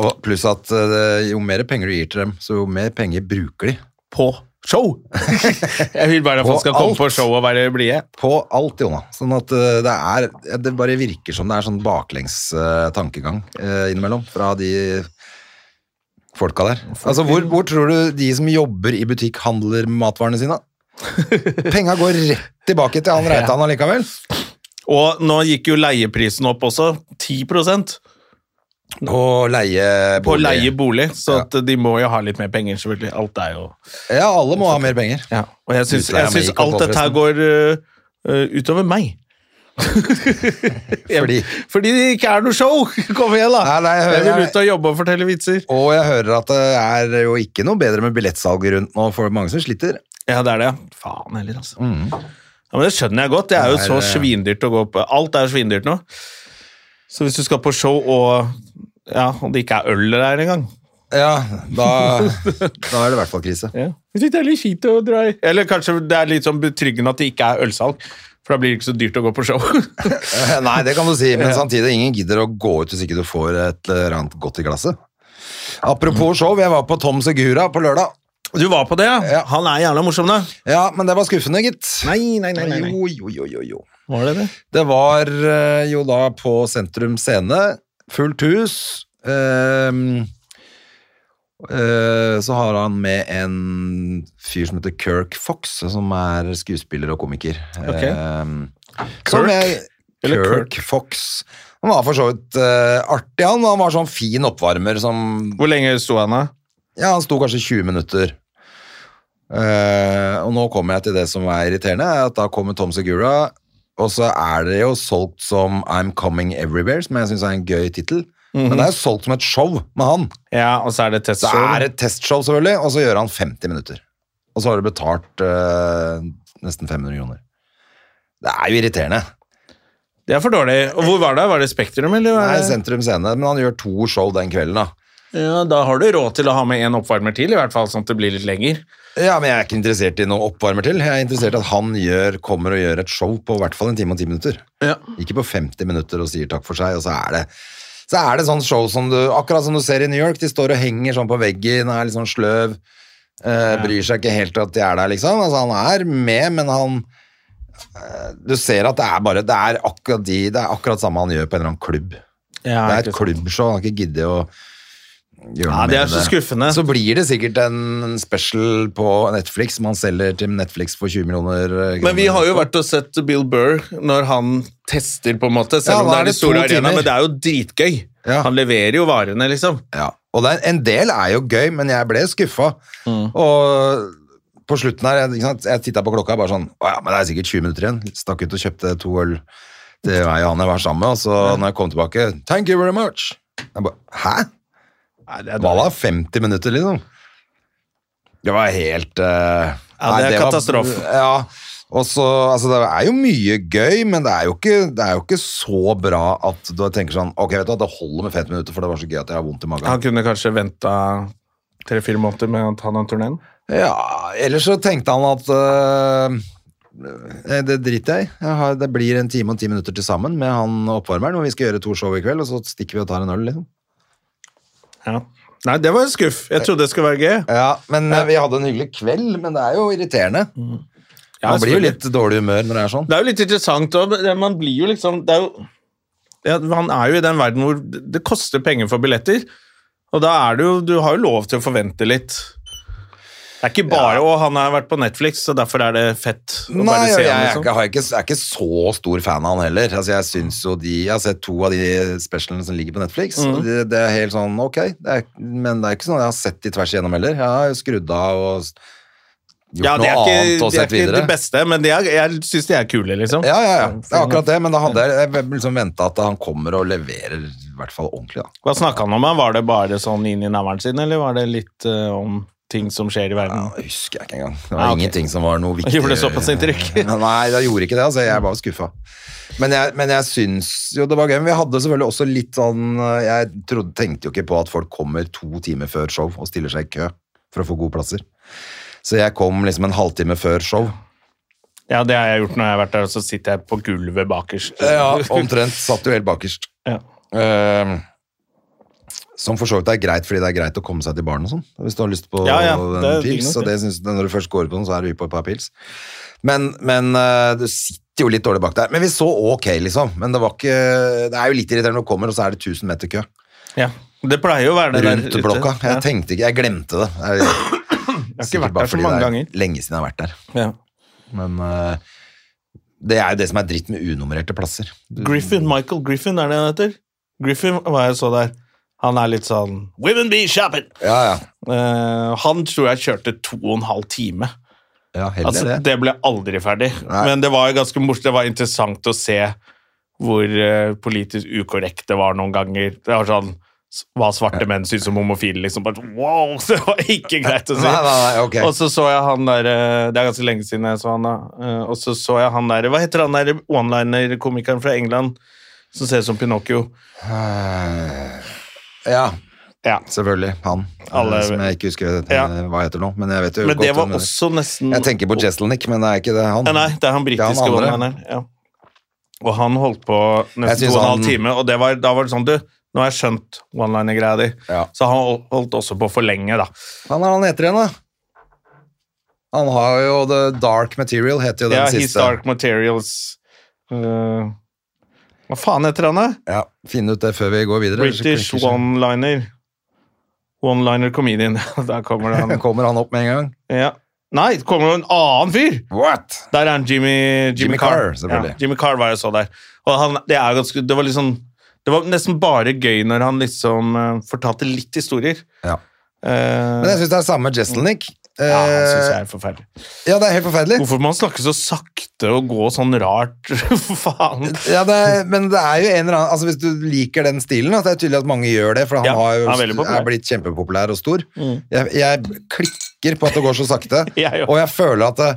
[SPEAKER 2] Og pluss at eh, jo mer penger du gir til dem, så jo mer penger bruker de.
[SPEAKER 1] På show! Jeg vil bare at
[SPEAKER 2] På
[SPEAKER 1] folk skal komme
[SPEAKER 2] alt.
[SPEAKER 1] på show og være blide.
[SPEAKER 2] På alt, Jonna. Sånn at eh, det er Det bare virker som det er sånn baklengs eh, tankegang eh, innimellom fra de folka der. Altså, hvor, hvor tror du de som jobber i butikk, handler matvarene sine? Penga går rett tilbake til han Reitan allikevel.
[SPEAKER 1] Og nå gikk jo leieprisen opp også. 10 på
[SPEAKER 2] På leie...
[SPEAKER 1] å
[SPEAKER 2] bolig.
[SPEAKER 1] leie bolig, så at de må jo ha litt mer penger, selvfølgelig. Alt er jo
[SPEAKER 2] Ja, alle må ha mer penger.
[SPEAKER 1] ja. Og jeg syns,
[SPEAKER 2] Utleia
[SPEAKER 1] jeg
[SPEAKER 2] mi
[SPEAKER 1] syns
[SPEAKER 2] gikk opp
[SPEAKER 1] alt
[SPEAKER 2] også,
[SPEAKER 1] dette her går eh, eh, utover meg.
[SPEAKER 2] Fordi
[SPEAKER 1] Fordi det ikke er noe show! Kom igjen, da!
[SPEAKER 2] Nei, nei, jeg hører-
[SPEAKER 1] jeg vil ut og jobbe og fortelle vitser.
[SPEAKER 2] Og jeg hører at det er jo ikke noe bedre med billettsalg rundt nå, for mange som sliter.
[SPEAKER 1] Ja, det er det. Faen heller, altså. Ja, men Det skjønner jeg godt. Det er
[SPEAKER 2] Mm.
[SPEAKER 1] jo
[SPEAKER 2] Det er,
[SPEAKER 1] så
[SPEAKER 2] eh,
[SPEAKER 1] svindyrt å gå på. Alt er svindyrt nå. Så hvis du skal på show og ja, og det ikke er øl der engang
[SPEAKER 2] Ja, da, da er det i hvert fall krise.
[SPEAKER 1] ja. Jeg synes det er litt kjipt å dra i. Eller kanskje det er litt sånn betryggende at det ikke er ølsalg, for da blir det ikke så dyrt å gå på show.
[SPEAKER 2] Eh, Nei, det kan du si, men samtidig ingen gidder å gå ut hvis ikke du får et eller annet godt i glasset. Apropos show, jeg var på Tom Segura på lørdag.
[SPEAKER 1] Du var på det,
[SPEAKER 2] Ja.
[SPEAKER 1] Han er jævla morsom, da.
[SPEAKER 2] Ja, men det var skuffende, gitt.
[SPEAKER 1] Nei, nei, nei, nei, nei.
[SPEAKER 2] Jo, jo, jo, jo, jo.
[SPEAKER 1] Var det det?
[SPEAKER 2] Det var eh, jo da på Sentrum Scene, fullt hus. Ehm, eh, så har han med en fyr som heter Kirk Fox, som er skuespiller og komiker.
[SPEAKER 1] Ok.
[SPEAKER 2] Ehm,
[SPEAKER 1] Kirk?
[SPEAKER 2] som jeg,
[SPEAKER 1] Eller
[SPEAKER 2] Kirk, Fox. Han var for så vidt eh, artig, han. Han var sånn fin oppvarmer som
[SPEAKER 1] Hvor lenge sto han da?
[SPEAKER 2] ja, han sto kanskje 20 minutter. Eh, og nå kommer jeg til det som er irriterende, er at da kommer Tom Segura, og så er det jo solgt som I'm Coming Everywhere, som jeg syns er en gøy tittel. Men det er jo solgt som et show med han.
[SPEAKER 1] Ja, og så er det
[SPEAKER 2] Så
[SPEAKER 1] testshow.
[SPEAKER 2] er det et testshow, selvfølgelig, og så gjør han 50 minutter. Og så har du betalt eh, nesten 500 kroner. Det er jo irriterende.
[SPEAKER 1] Det er for dårlig. Og hvor var det? Var det Spektrum, eller? var
[SPEAKER 2] Nei,
[SPEAKER 1] det-
[SPEAKER 2] Sentrum Scene, men han gjør to show den kvelden, da.
[SPEAKER 1] Ja, da har du råd til å ha med en oppvarmer til, i hvert fall, sånn at det blir litt lenger.
[SPEAKER 2] Ja, men jeg er ikke interessert i noe oppvarmer til. Jeg er interessert i at han gjør, kommer og gjør et show på i hvert fall en time og ti minutter.
[SPEAKER 1] Ja.
[SPEAKER 2] Ikke på 50 minutter og sier takk for seg, og så er det så er det sånn show som du Akkurat som du ser i New York, de står og henger sånn på veggen, er litt sånn sløv, eh, bryr seg ikke helt at de er der, liksom. Altså, han er med, men han eh, Du ser at det er bare Det er akkurat de Det er akkurat samme han gjør på en eller annen klubb. det er et klubbshow, han har ikke giddet å gjøre noe
[SPEAKER 1] Ja, det er
[SPEAKER 2] med
[SPEAKER 1] så skuffende.
[SPEAKER 2] Så blir det sikkert en special på Netflix som han selger til Netflix for 20 millioner eh, kroner.
[SPEAKER 1] Men vi har jo vært og sett Bill Burr når han tester, på en måte,
[SPEAKER 2] Ja,
[SPEAKER 1] selv om
[SPEAKER 2] da er
[SPEAKER 1] det er
[SPEAKER 2] det
[SPEAKER 1] de store
[SPEAKER 2] to timer.
[SPEAKER 1] arenaene, men det er jo dritgøy.
[SPEAKER 2] Ja.
[SPEAKER 1] Han leverer jo varene, liksom.
[SPEAKER 2] Ja, og det er, en del er jo gøy, men jeg ble skuffa.
[SPEAKER 1] Mm.
[SPEAKER 2] Og på slutten her, jeg- ikke sant, jeg titta på klokka bare sånn Å ja, men det er sikkert 20 minutter igjen. Stakk ut og kjøpte to øl til meg og han jeg var sammen med, og så når jeg kom tilbake Thank you very much. Jeg bare Hæ?
[SPEAKER 1] Nei, det er
[SPEAKER 2] Hva
[SPEAKER 1] dårlig.
[SPEAKER 2] da? 50 minutter, liksom? Det var helt eh,
[SPEAKER 1] Ja,
[SPEAKER 2] nei,
[SPEAKER 1] det er
[SPEAKER 2] var-
[SPEAKER 1] katastrofe.
[SPEAKER 2] Ja, og så, altså Det er jo mye gøy, men det er jo ikke, det er jo ikke så bra at du tenker sånn Ok, vet du hva, det holder med 50 minutter, for det var så gøy at jeg har vondt i magen.
[SPEAKER 1] Han kunne kanskje venta tre-fire måneder med å ta den turneen.
[SPEAKER 2] Ja, ellers så tenkte han at øh, eh, Det driter jeg i. Jeg har- Det blir en time og ti minutter til sammen med han oppvarmeren, og vi skal gjøre to show i kveld, og så stikker vi og tar en øl, liksom.
[SPEAKER 1] Ja. Nei, det var en skuff. Jeg trodde det skulle være gøy.
[SPEAKER 2] Ja, men eh, vi hadde en hyggelig kveld, men det er jo irriterende.
[SPEAKER 1] Mm. Ja,
[SPEAKER 2] Man blir jo
[SPEAKER 1] selvfølgelig.
[SPEAKER 2] litt dårlig humør når det er sånn.
[SPEAKER 1] Det er jo litt interessant òg. Man blir jo liksom det er jo, ja, Han er jo i den verden hvor det det koster penger for billetter. Og da er det jo Du har jo lov til å forvente litt. Det er ikke bare å han har vært på Netflix, så derfor er det fett å
[SPEAKER 2] Nei,
[SPEAKER 1] bare
[SPEAKER 2] og
[SPEAKER 1] se
[SPEAKER 2] jeg,
[SPEAKER 1] ham.
[SPEAKER 2] er
[SPEAKER 1] Liksom.
[SPEAKER 2] ikke- har ikke, er ikke så stor fan av han heller. Altså, jeg synes jo de, jeg har sett to av de specialene som ligger på Netflix,
[SPEAKER 1] Mm.
[SPEAKER 2] og det, det er helt sånn, ok, det er, men det er ikke sånn at jeg har sett de tvers igjennom heller. Jeg har jo skrudd av og s- gjort
[SPEAKER 1] Ja, det
[SPEAKER 2] noe
[SPEAKER 1] er
[SPEAKER 2] annet
[SPEAKER 1] ikke,
[SPEAKER 2] og
[SPEAKER 1] det,
[SPEAKER 2] sett
[SPEAKER 1] er ikke
[SPEAKER 2] videre.
[SPEAKER 1] det beste, men det er, jeg syns de er kule, liksom.
[SPEAKER 2] Ja, ja, ja, det er akkurat det, men da hadde jeg, jeg liksom ventet at han kommer og leverer i hvert fall ordentlig da.
[SPEAKER 1] Hva snakka han om? da? Var det bare sånn inn i navlen sin, eller var det litt eh, om ting som skjer i verden?
[SPEAKER 2] Ja, det husker jeg ikke engang. Det var
[SPEAKER 1] Ah, ok.
[SPEAKER 2] ingenting som var noe viktig.
[SPEAKER 1] Gjorde det såpass inntrykk?
[SPEAKER 2] Nei, det gjorde ikke det. Altså, jeg var skuffa. Men jeg, men jeg syns jo det var gøy. Men vi hadde selvfølgelig også litt sånn eh, Jeg trodde, tenkte jo ikke på at folk kommer to timer før show og stiller seg i kø for å få gode plasser. Så jeg kom liksom en halvtime før show.
[SPEAKER 1] Ja, det har jeg gjort når jeg har vært der, og så sitter jeg på gulvet bakerst.
[SPEAKER 2] Omtrent. Satt jo helt bakerst.
[SPEAKER 1] Ja.
[SPEAKER 2] Eh, som for så vidt er greit, fordi det er greit å komme seg til baren og sånn. Hvis du har lyst på
[SPEAKER 1] Ja, ja,
[SPEAKER 2] en
[SPEAKER 1] det er digg
[SPEAKER 2] pils.
[SPEAKER 1] nok,
[SPEAKER 2] Og det
[SPEAKER 1] det.
[SPEAKER 2] synes, når du først går på den, så er du hypp på et par pils. Men, men eh, du sitter jo litt dårlig bak der. Men vi så ok, liksom. Men det var ikke Det er jo litt irriterende når du kommer, og så er det 1000 meter kø
[SPEAKER 1] Ja. Det pleier jo å være det
[SPEAKER 2] rundt
[SPEAKER 1] der ute.
[SPEAKER 2] blokka.
[SPEAKER 1] Ja.
[SPEAKER 2] Jeg tenkte ikke Jeg glemte det. Jeg,
[SPEAKER 1] Jeg har ikke vært der så mange ganger.
[SPEAKER 2] lenge siden jeg har vært der.
[SPEAKER 1] Ja.
[SPEAKER 2] Men eh, det er jo det som er dritt med unummererte plasser.
[SPEAKER 1] Griffin, Michael Griffin, er det han heter? Griffin var jeg så der. Han er litt sånn Women be shopping!
[SPEAKER 2] Ja, ja.
[SPEAKER 1] Eh, han tror jeg kjørte to og en halv time.
[SPEAKER 2] ja heller
[SPEAKER 1] Altså,
[SPEAKER 2] det.
[SPEAKER 1] det ble aldri ferdig.
[SPEAKER 2] Nei.
[SPEAKER 1] Men det var jo ganske morsomt. Det var interessant å se hvor eh, politisk ukorrekt det var noen ganger. Det var sånn s- hva svarte menn syns om homofile, liksom. Bare, sånn, wow! Så det var ikke greit å si.
[SPEAKER 2] Nei, nei, nei, ok.
[SPEAKER 1] Og så så jeg han der eh, Det er ganske lenge siden jeg så han, da. Eh, Og så så jeg han der Hva heter han der onliner-komikeren fra England som ser ut som Pinocchio?
[SPEAKER 2] Ja,
[SPEAKER 1] Ja.
[SPEAKER 2] selvfølgelig. Han
[SPEAKER 1] Alle-
[SPEAKER 2] eh, som jeg ikke husker eh,
[SPEAKER 1] Ja.
[SPEAKER 2] hva heter nå. Men jeg vet jo
[SPEAKER 1] Men
[SPEAKER 2] godt
[SPEAKER 1] det var
[SPEAKER 2] hvem
[SPEAKER 1] også nesten
[SPEAKER 2] Jeg tenker på Jesselnik, men det er ikke det han.
[SPEAKER 1] Ja, Nei, det er han britiske
[SPEAKER 2] andre.
[SPEAKER 1] onlineren. Ja. Og han holdt på
[SPEAKER 2] Jeg
[SPEAKER 1] nesten
[SPEAKER 2] synes
[SPEAKER 1] to og en
[SPEAKER 2] han-
[SPEAKER 1] halv time, og det var, da var det sånn Du, nå har jeg skjønt one-liner-greia di.
[SPEAKER 2] Ja.
[SPEAKER 1] Så han hol- holdt også på for lenge, da.
[SPEAKER 2] Han er han heter igjen, da. Han har jo The Dark Material, heter jo den
[SPEAKER 1] Ja, His
[SPEAKER 2] siste.
[SPEAKER 1] Dark Materials øh, Hva faen heter han, da?
[SPEAKER 2] Ja, Finn ut det før vi går videre. ellers
[SPEAKER 1] British
[SPEAKER 2] klikker ikke.
[SPEAKER 1] one-liner. One-liner comedian. Der kommer det han.
[SPEAKER 2] Kommer han opp med en gang?
[SPEAKER 1] Ja. Nei, det kommer jo en annen fyr!
[SPEAKER 2] What?
[SPEAKER 1] Der er han Jimmy, Jimmy,
[SPEAKER 2] Jimmy Carr,
[SPEAKER 1] Carr.
[SPEAKER 2] selvfølgelig.
[SPEAKER 1] Ja, Jimmy Carr var jeg så der. Og han, det, er ganske, det, var liksom, det var nesten bare gøy når han liksom eh, fortalte litt historier.
[SPEAKER 2] Ja.
[SPEAKER 1] Eh,
[SPEAKER 2] Men jeg syns det er samme Jesselnik.
[SPEAKER 1] ja, han synes jeg er forferdelig.
[SPEAKER 2] ja, det er helt forferdelig.
[SPEAKER 1] Hvorfor må han snakke så sakte og gå sånn rart? Faen.
[SPEAKER 2] Ja, det er, men det er jo en eller annen altså Hvis du liker den stilen, altså det er tydelig at mange gjør det, for han
[SPEAKER 1] Ja,
[SPEAKER 2] har jo
[SPEAKER 1] han er veldig populær. Mm.
[SPEAKER 2] er blitt kjempepopulær og stor. Jeg, jeg klikker på at det går så sakte,
[SPEAKER 1] Jeg òg.
[SPEAKER 2] og jeg føler at det,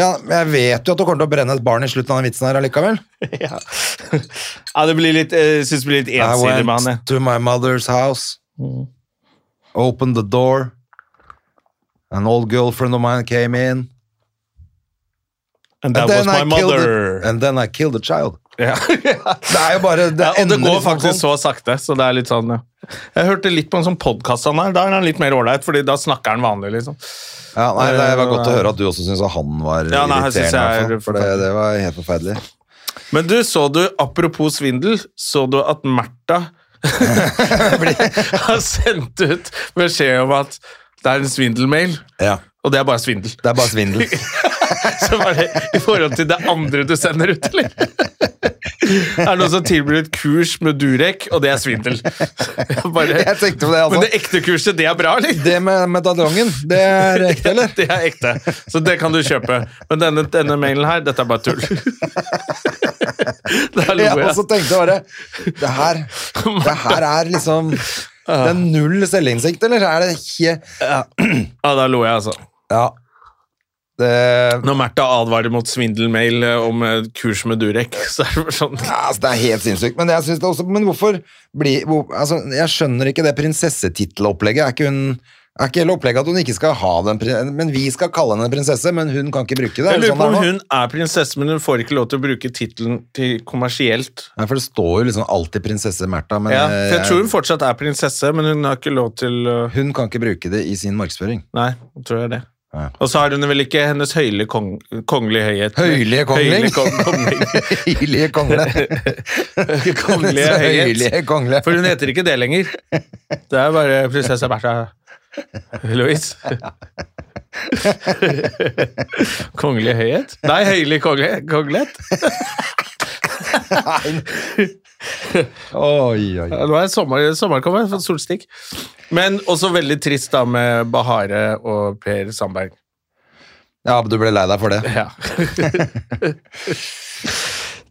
[SPEAKER 2] ja, men Jeg vet jo at det kommer til å brenne et barn i slutten av den vitsen her allikevel.
[SPEAKER 1] Ja. ja, det blir litt, eh, jeg synes det blir litt
[SPEAKER 2] I
[SPEAKER 1] ensidig med han. jeg.
[SPEAKER 2] went to my mother's house,
[SPEAKER 1] Mm.
[SPEAKER 2] opened the door, an old girlfriend of mine came in,
[SPEAKER 1] And
[SPEAKER 2] and,
[SPEAKER 1] that
[SPEAKER 2] then
[SPEAKER 1] was my
[SPEAKER 2] I killed
[SPEAKER 1] mother.
[SPEAKER 2] a, and then I killed a child.
[SPEAKER 1] Ja.
[SPEAKER 2] Det er jo bare det
[SPEAKER 1] Ja, og det
[SPEAKER 2] ender
[SPEAKER 1] går
[SPEAKER 2] liksom sånn.
[SPEAKER 1] faktisk så sakte, så det er litt sånn ja. Jeg hørte litt på en sånn podkast han har. Da er han litt mer ålreit, Fordi da snakker han vanlig, liksom.
[SPEAKER 2] Ja, nei, det var godt å høre at du også syntes at han var
[SPEAKER 1] Ja, nei, jeg synes
[SPEAKER 2] irriterende. i
[SPEAKER 1] jeg er
[SPEAKER 2] hvert fall, For det, det var helt forferdelig.
[SPEAKER 1] Men du, så du, apropos svindel, så du at Märtha har sendt ut beskjed om at det er en svindelmail,
[SPEAKER 2] Ja,
[SPEAKER 1] og det er bare svindel.
[SPEAKER 2] det er bare svindel.
[SPEAKER 1] Så bare i forhold til det andre du sender ut, eller? Er det noen som tilbyr et kurs med Durek, og det er svindel? Jeg bare-
[SPEAKER 2] Jeg tenkte på det, altså.
[SPEAKER 1] Men det ekte kurset, det er bra, eller?
[SPEAKER 2] Det med medaljongen, det er ekte, eller?
[SPEAKER 1] Det er ekte, så det kan du kjøpe. Men denne, denne mailen her, dette er bare tull. Der lo
[SPEAKER 2] Ja, altså-
[SPEAKER 1] jeg.
[SPEAKER 2] og så tenkte jeg bare Det her, det her er liksom Det er null selvinnsikt, eller? Er det ikke
[SPEAKER 1] Ja, der lo jeg, altså.
[SPEAKER 2] Ja. Det
[SPEAKER 1] Når Märtha advarer mot svindelmail eh, om eh, kurs med Durek, så er det bare sånn
[SPEAKER 2] ja, altså, det er helt sinnssykt. Men, jeg synes det også, men hvorfor bli, hvor, altså, Jeg skjønner ikke det prinsessetittelopplegget. Er ikke hun er ikke hele opplegget at hun ikke skal ha den prin- Men vi skal kalle henne en prinsesse, men hun kan ikke bruke det?
[SPEAKER 1] Jeg
[SPEAKER 2] Er det
[SPEAKER 1] lurer
[SPEAKER 2] sånn
[SPEAKER 1] på
[SPEAKER 2] det er
[SPEAKER 1] om
[SPEAKER 2] nå?
[SPEAKER 1] hun er prinsesse, men hun får ikke lov til å bruke tittelen til kommersielt.
[SPEAKER 2] Nei, for det står jo liksom alltid prinsesse Märtha, men
[SPEAKER 1] Ja, for jeg
[SPEAKER 2] eh,
[SPEAKER 1] tror hun fortsatt er prinsesse, men hun har ikke lov til eh,
[SPEAKER 2] hun kan ikke bruke det i sin markedsføring.
[SPEAKER 1] Nei, jeg tror jeg det.
[SPEAKER 2] Ja.
[SPEAKER 1] Og så har hun vel ikke hennes høylige kong, kongelige høyhet
[SPEAKER 2] Høylige kongling?
[SPEAKER 1] Høylige kong- kongling.
[SPEAKER 2] Hylige kongle.
[SPEAKER 1] kongelige
[SPEAKER 2] Så
[SPEAKER 1] høyhet.
[SPEAKER 2] Hylige kongle.
[SPEAKER 1] For hun heter ikke det lenger. Det er bare prinsesse Bertha Louise. Kongelig høyhet? Nei, høylig kongelighet. kongelighet.
[SPEAKER 2] Oi, oi.
[SPEAKER 1] Ja, Nå er sommer, sommeren kommet, for solstikk. Men også veldig trist da med Bahare og Per Sandberg.
[SPEAKER 2] Ja, du ble lei deg for det.
[SPEAKER 1] Ja.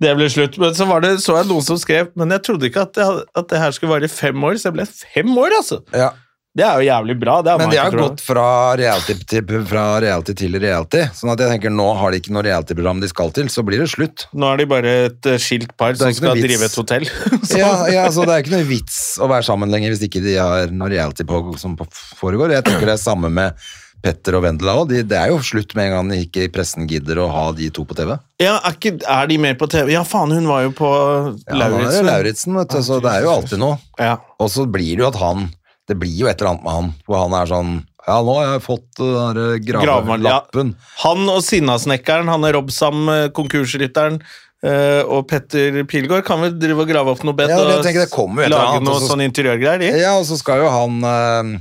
[SPEAKER 1] det ble slutt. Men så, var det, så jeg noen som skrev Men jeg trodde ikke at det, hadde- at det her skulle vare i fem år, så jeg ble fem år, altså!
[SPEAKER 2] Ja.
[SPEAKER 1] Det er jo jævlig bra. Det er
[SPEAKER 2] Men de har
[SPEAKER 1] Michael
[SPEAKER 2] jo
[SPEAKER 1] Jordan.
[SPEAKER 2] gått fra reality, til, fra reality til reality, sånn at jeg tenker nå har de ikke noe reality-program de skal til, så blir det slutt.
[SPEAKER 1] Nå er de bare et eh, skilt par som
[SPEAKER 2] ikke noe
[SPEAKER 1] skal
[SPEAKER 2] vits.
[SPEAKER 1] drive et hotell. Så-
[SPEAKER 2] Ja, ja, så Det er ikke noe vits å være sammen lenger hvis ikke de har noe reality på, som på- foregår. Jeg tenker det er samme med Petter og Vendela òg. De, det er jo slutt med en gang de ikke pressen gidder å ha de to på TV.
[SPEAKER 1] Ja, er, ikke, er de mer på TV? Ja, faen, hun var jo på
[SPEAKER 2] Ja, Lauritzen. Det
[SPEAKER 1] Lauritzen.
[SPEAKER 2] er Lauritzen, vet du, så det er jo alltid noe.
[SPEAKER 1] Ja.
[SPEAKER 2] Og så blir det jo at han Det blir jo et eller annet med han, hvor han er sånn Ja, nå har jeg fått uh, den der
[SPEAKER 1] Gravmann, ja.
[SPEAKER 2] gravelappen.
[SPEAKER 1] Han og Sinnasnekkeren, han er Robsam, eh, konkursrytteren, eh, og Petter Pilgaard kan vel drive og grave opp noe bed
[SPEAKER 2] Ja,
[SPEAKER 1] og
[SPEAKER 2] jeg tenker det kommer jo et eller
[SPEAKER 1] lage
[SPEAKER 2] annet,
[SPEAKER 1] noe
[SPEAKER 2] og så-
[SPEAKER 1] sånn interiørgreier, de.
[SPEAKER 2] Ja, og så skal jo han eh,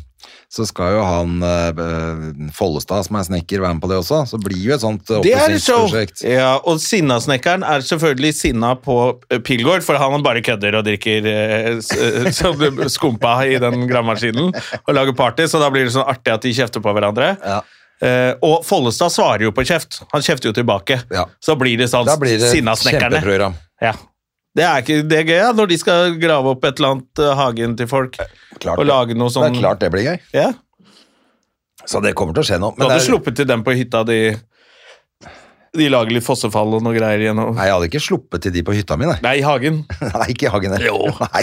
[SPEAKER 2] Så skal jo han eh, Follestad, som er snekker, være med på det også. Så blir jo et sånt eh,
[SPEAKER 1] Det er et show!
[SPEAKER 2] oppussingsprosjekt.
[SPEAKER 1] Ja, og Sinnasnekkeren er selvfølgelig sinna på eh, Pilgaard, for han bare kødder og drikker eh, s- eh, sånn skumpa i den gravemaskinen og lager party, så da blir det sånn artig at de kjefter på hverandre.
[SPEAKER 2] Ja.
[SPEAKER 1] Eh, og Follestad svarer jo på kjeft. Han kjefter jo tilbake.
[SPEAKER 2] Ja.
[SPEAKER 1] Så blir det sånn
[SPEAKER 2] Da blir det
[SPEAKER 1] Sinnasnekkerne.
[SPEAKER 2] kjempeprogram.
[SPEAKER 1] Ja. Det er ikke det er gøy, ja, når de skal grave opp et eller annet eh, hagen til folk.
[SPEAKER 2] Klart
[SPEAKER 1] og
[SPEAKER 2] det.
[SPEAKER 1] lage noe sånn
[SPEAKER 2] Det er klart det blir gøy.
[SPEAKER 1] Ja.
[SPEAKER 2] Så det kommer til å skje noe.
[SPEAKER 1] Du
[SPEAKER 2] Men det
[SPEAKER 1] hadde
[SPEAKER 2] er,
[SPEAKER 1] sluppet til dem på hytta, de De lager litt fossefall og noe greier igjennom. Nei,
[SPEAKER 2] nei, jeg hadde ikke sluppet til de på hytta mi, nei.
[SPEAKER 1] i hagen.
[SPEAKER 2] nei ikke i hagen der.
[SPEAKER 1] Jo.
[SPEAKER 2] Nei,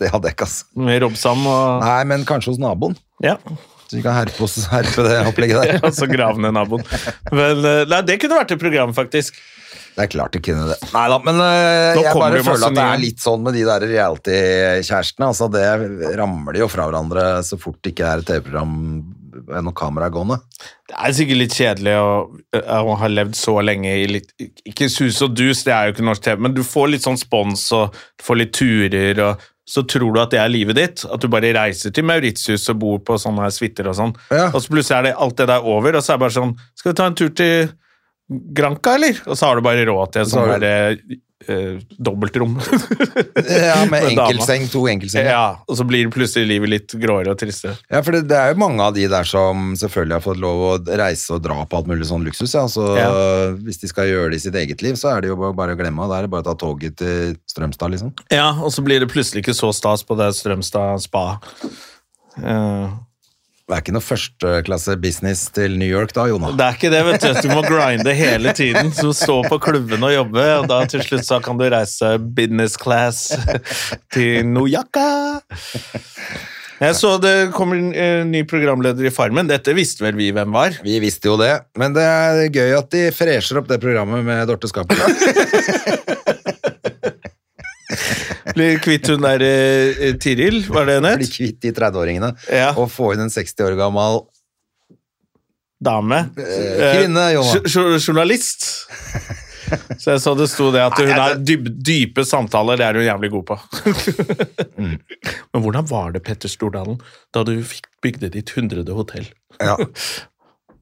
[SPEAKER 2] det hadde jeg ikke, ass.
[SPEAKER 1] Med Robsam og
[SPEAKER 2] Nei, men kanskje hos naboen.
[SPEAKER 1] Ja.
[SPEAKER 2] Så vi kan herpe, oss, herpe det opplegget der.
[SPEAKER 1] Og så grave ned naboen. Men eh, nei, det kunne vært et program, faktisk.
[SPEAKER 2] Det er klart det kunne det. Nei da, men øh,
[SPEAKER 1] Nå
[SPEAKER 2] jeg
[SPEAKER 1] kommer
[SPEAKER 2] bare
[SPEAKER 1] det masse
[SPEAKER 2] føler at det
[SPEAKER 1] nye.
[SPEAKER 2] er litt sånn med de der reality-kjærestene. Altså, det ramler jo fra hverandre så fort det ikke er et TV-program enn noe kamera gående.
[SPEAKER 1] Det er sikkert litt kjedelig å, eh, å ha levd så lenge i litt Ikke sus og dus, det er jo ikke norsk TV, men du får litt sånn spons og du får litt turer, og så tror du at det er livet ditt. At du bare reiser til Mauritius og bor på sånne suiter og sånn.
[SPEAKER 2] Ja.
[SPEAKER 1] Og så plutselig er det alt det der over, og så er det bare sånn Skal vi ta en tur til Granca, eller? Og så har du bare råd til en
[SPEAKER 2] Så har du-
[SPEAKER 1] sånn der, eh, dobbeltrom.
[SPEAKER 2] Ja, med
[SPEAKER 1] Med dama.
[SPEAKER 2] enkeltseng, to enkeltsenger. Ja.
[SPEAKER 1] ja, og så blir plutselig livet litt gråere og tristere.
[SPEAKER 2] for det, det er jo mange av de der som selvfølgelig har fått lov å reise og dra på alt mulig sånn luksus. Ja. Så øh, hvis de skal gjøre det i sitt eget liv, så er det jo bare- bare å glemme. Da er det bare å ta toget til Strømstad, liksom.
[SPEAKER 1] Ja, og så blir det plutselig ikke så stas på det Strømstad spa. Eh,
[SPEAKER 2] Det er ikke noe førsteklasse business til New York da, Jona.
[SPEAKER 1] det er ikke det, vet du. Du må grinde hele tiden. Så stå på klubben og jobbe, og da til slutt så kan du reise business class til Nojaka. Jeg så det kommer en eh, ny programleder i Farmen. Dette visste vel vi hvem var.
[SPEAKER 2] Vi visste jo det, men det er gøy at de fresher opp det programmet med Dorte Skapen.
[SPEAKER 1] Blir kvitt hun der eh, Tiril, var det hun
[SPEAKER 2] Bli
[SPEAKER 1] het?
[SPEAKER 2] kvitt de 30-åringene
[SPEAKER 1] Ja.
[SPEAKER 2] og få inn en 60 år gammel
[SPEAKER 1] Dame.
[SPEAKER 2] eh, kvinne,
[SPEAKER 1] Eh,
[SPEAKER 2] Jona.
[SPEAKER 1] jo- jo- Journalist. Så jeg så det sto det at hun er dyp, dype samtaler, det er hun jævlig god på.
[SPEAKER 2] Mm.
[SPEAKER 1] Men hvordan var det, Petter Stordalen, da du fikk bygde ditt hundrede hotell?
[SPEAKER 2] Ja.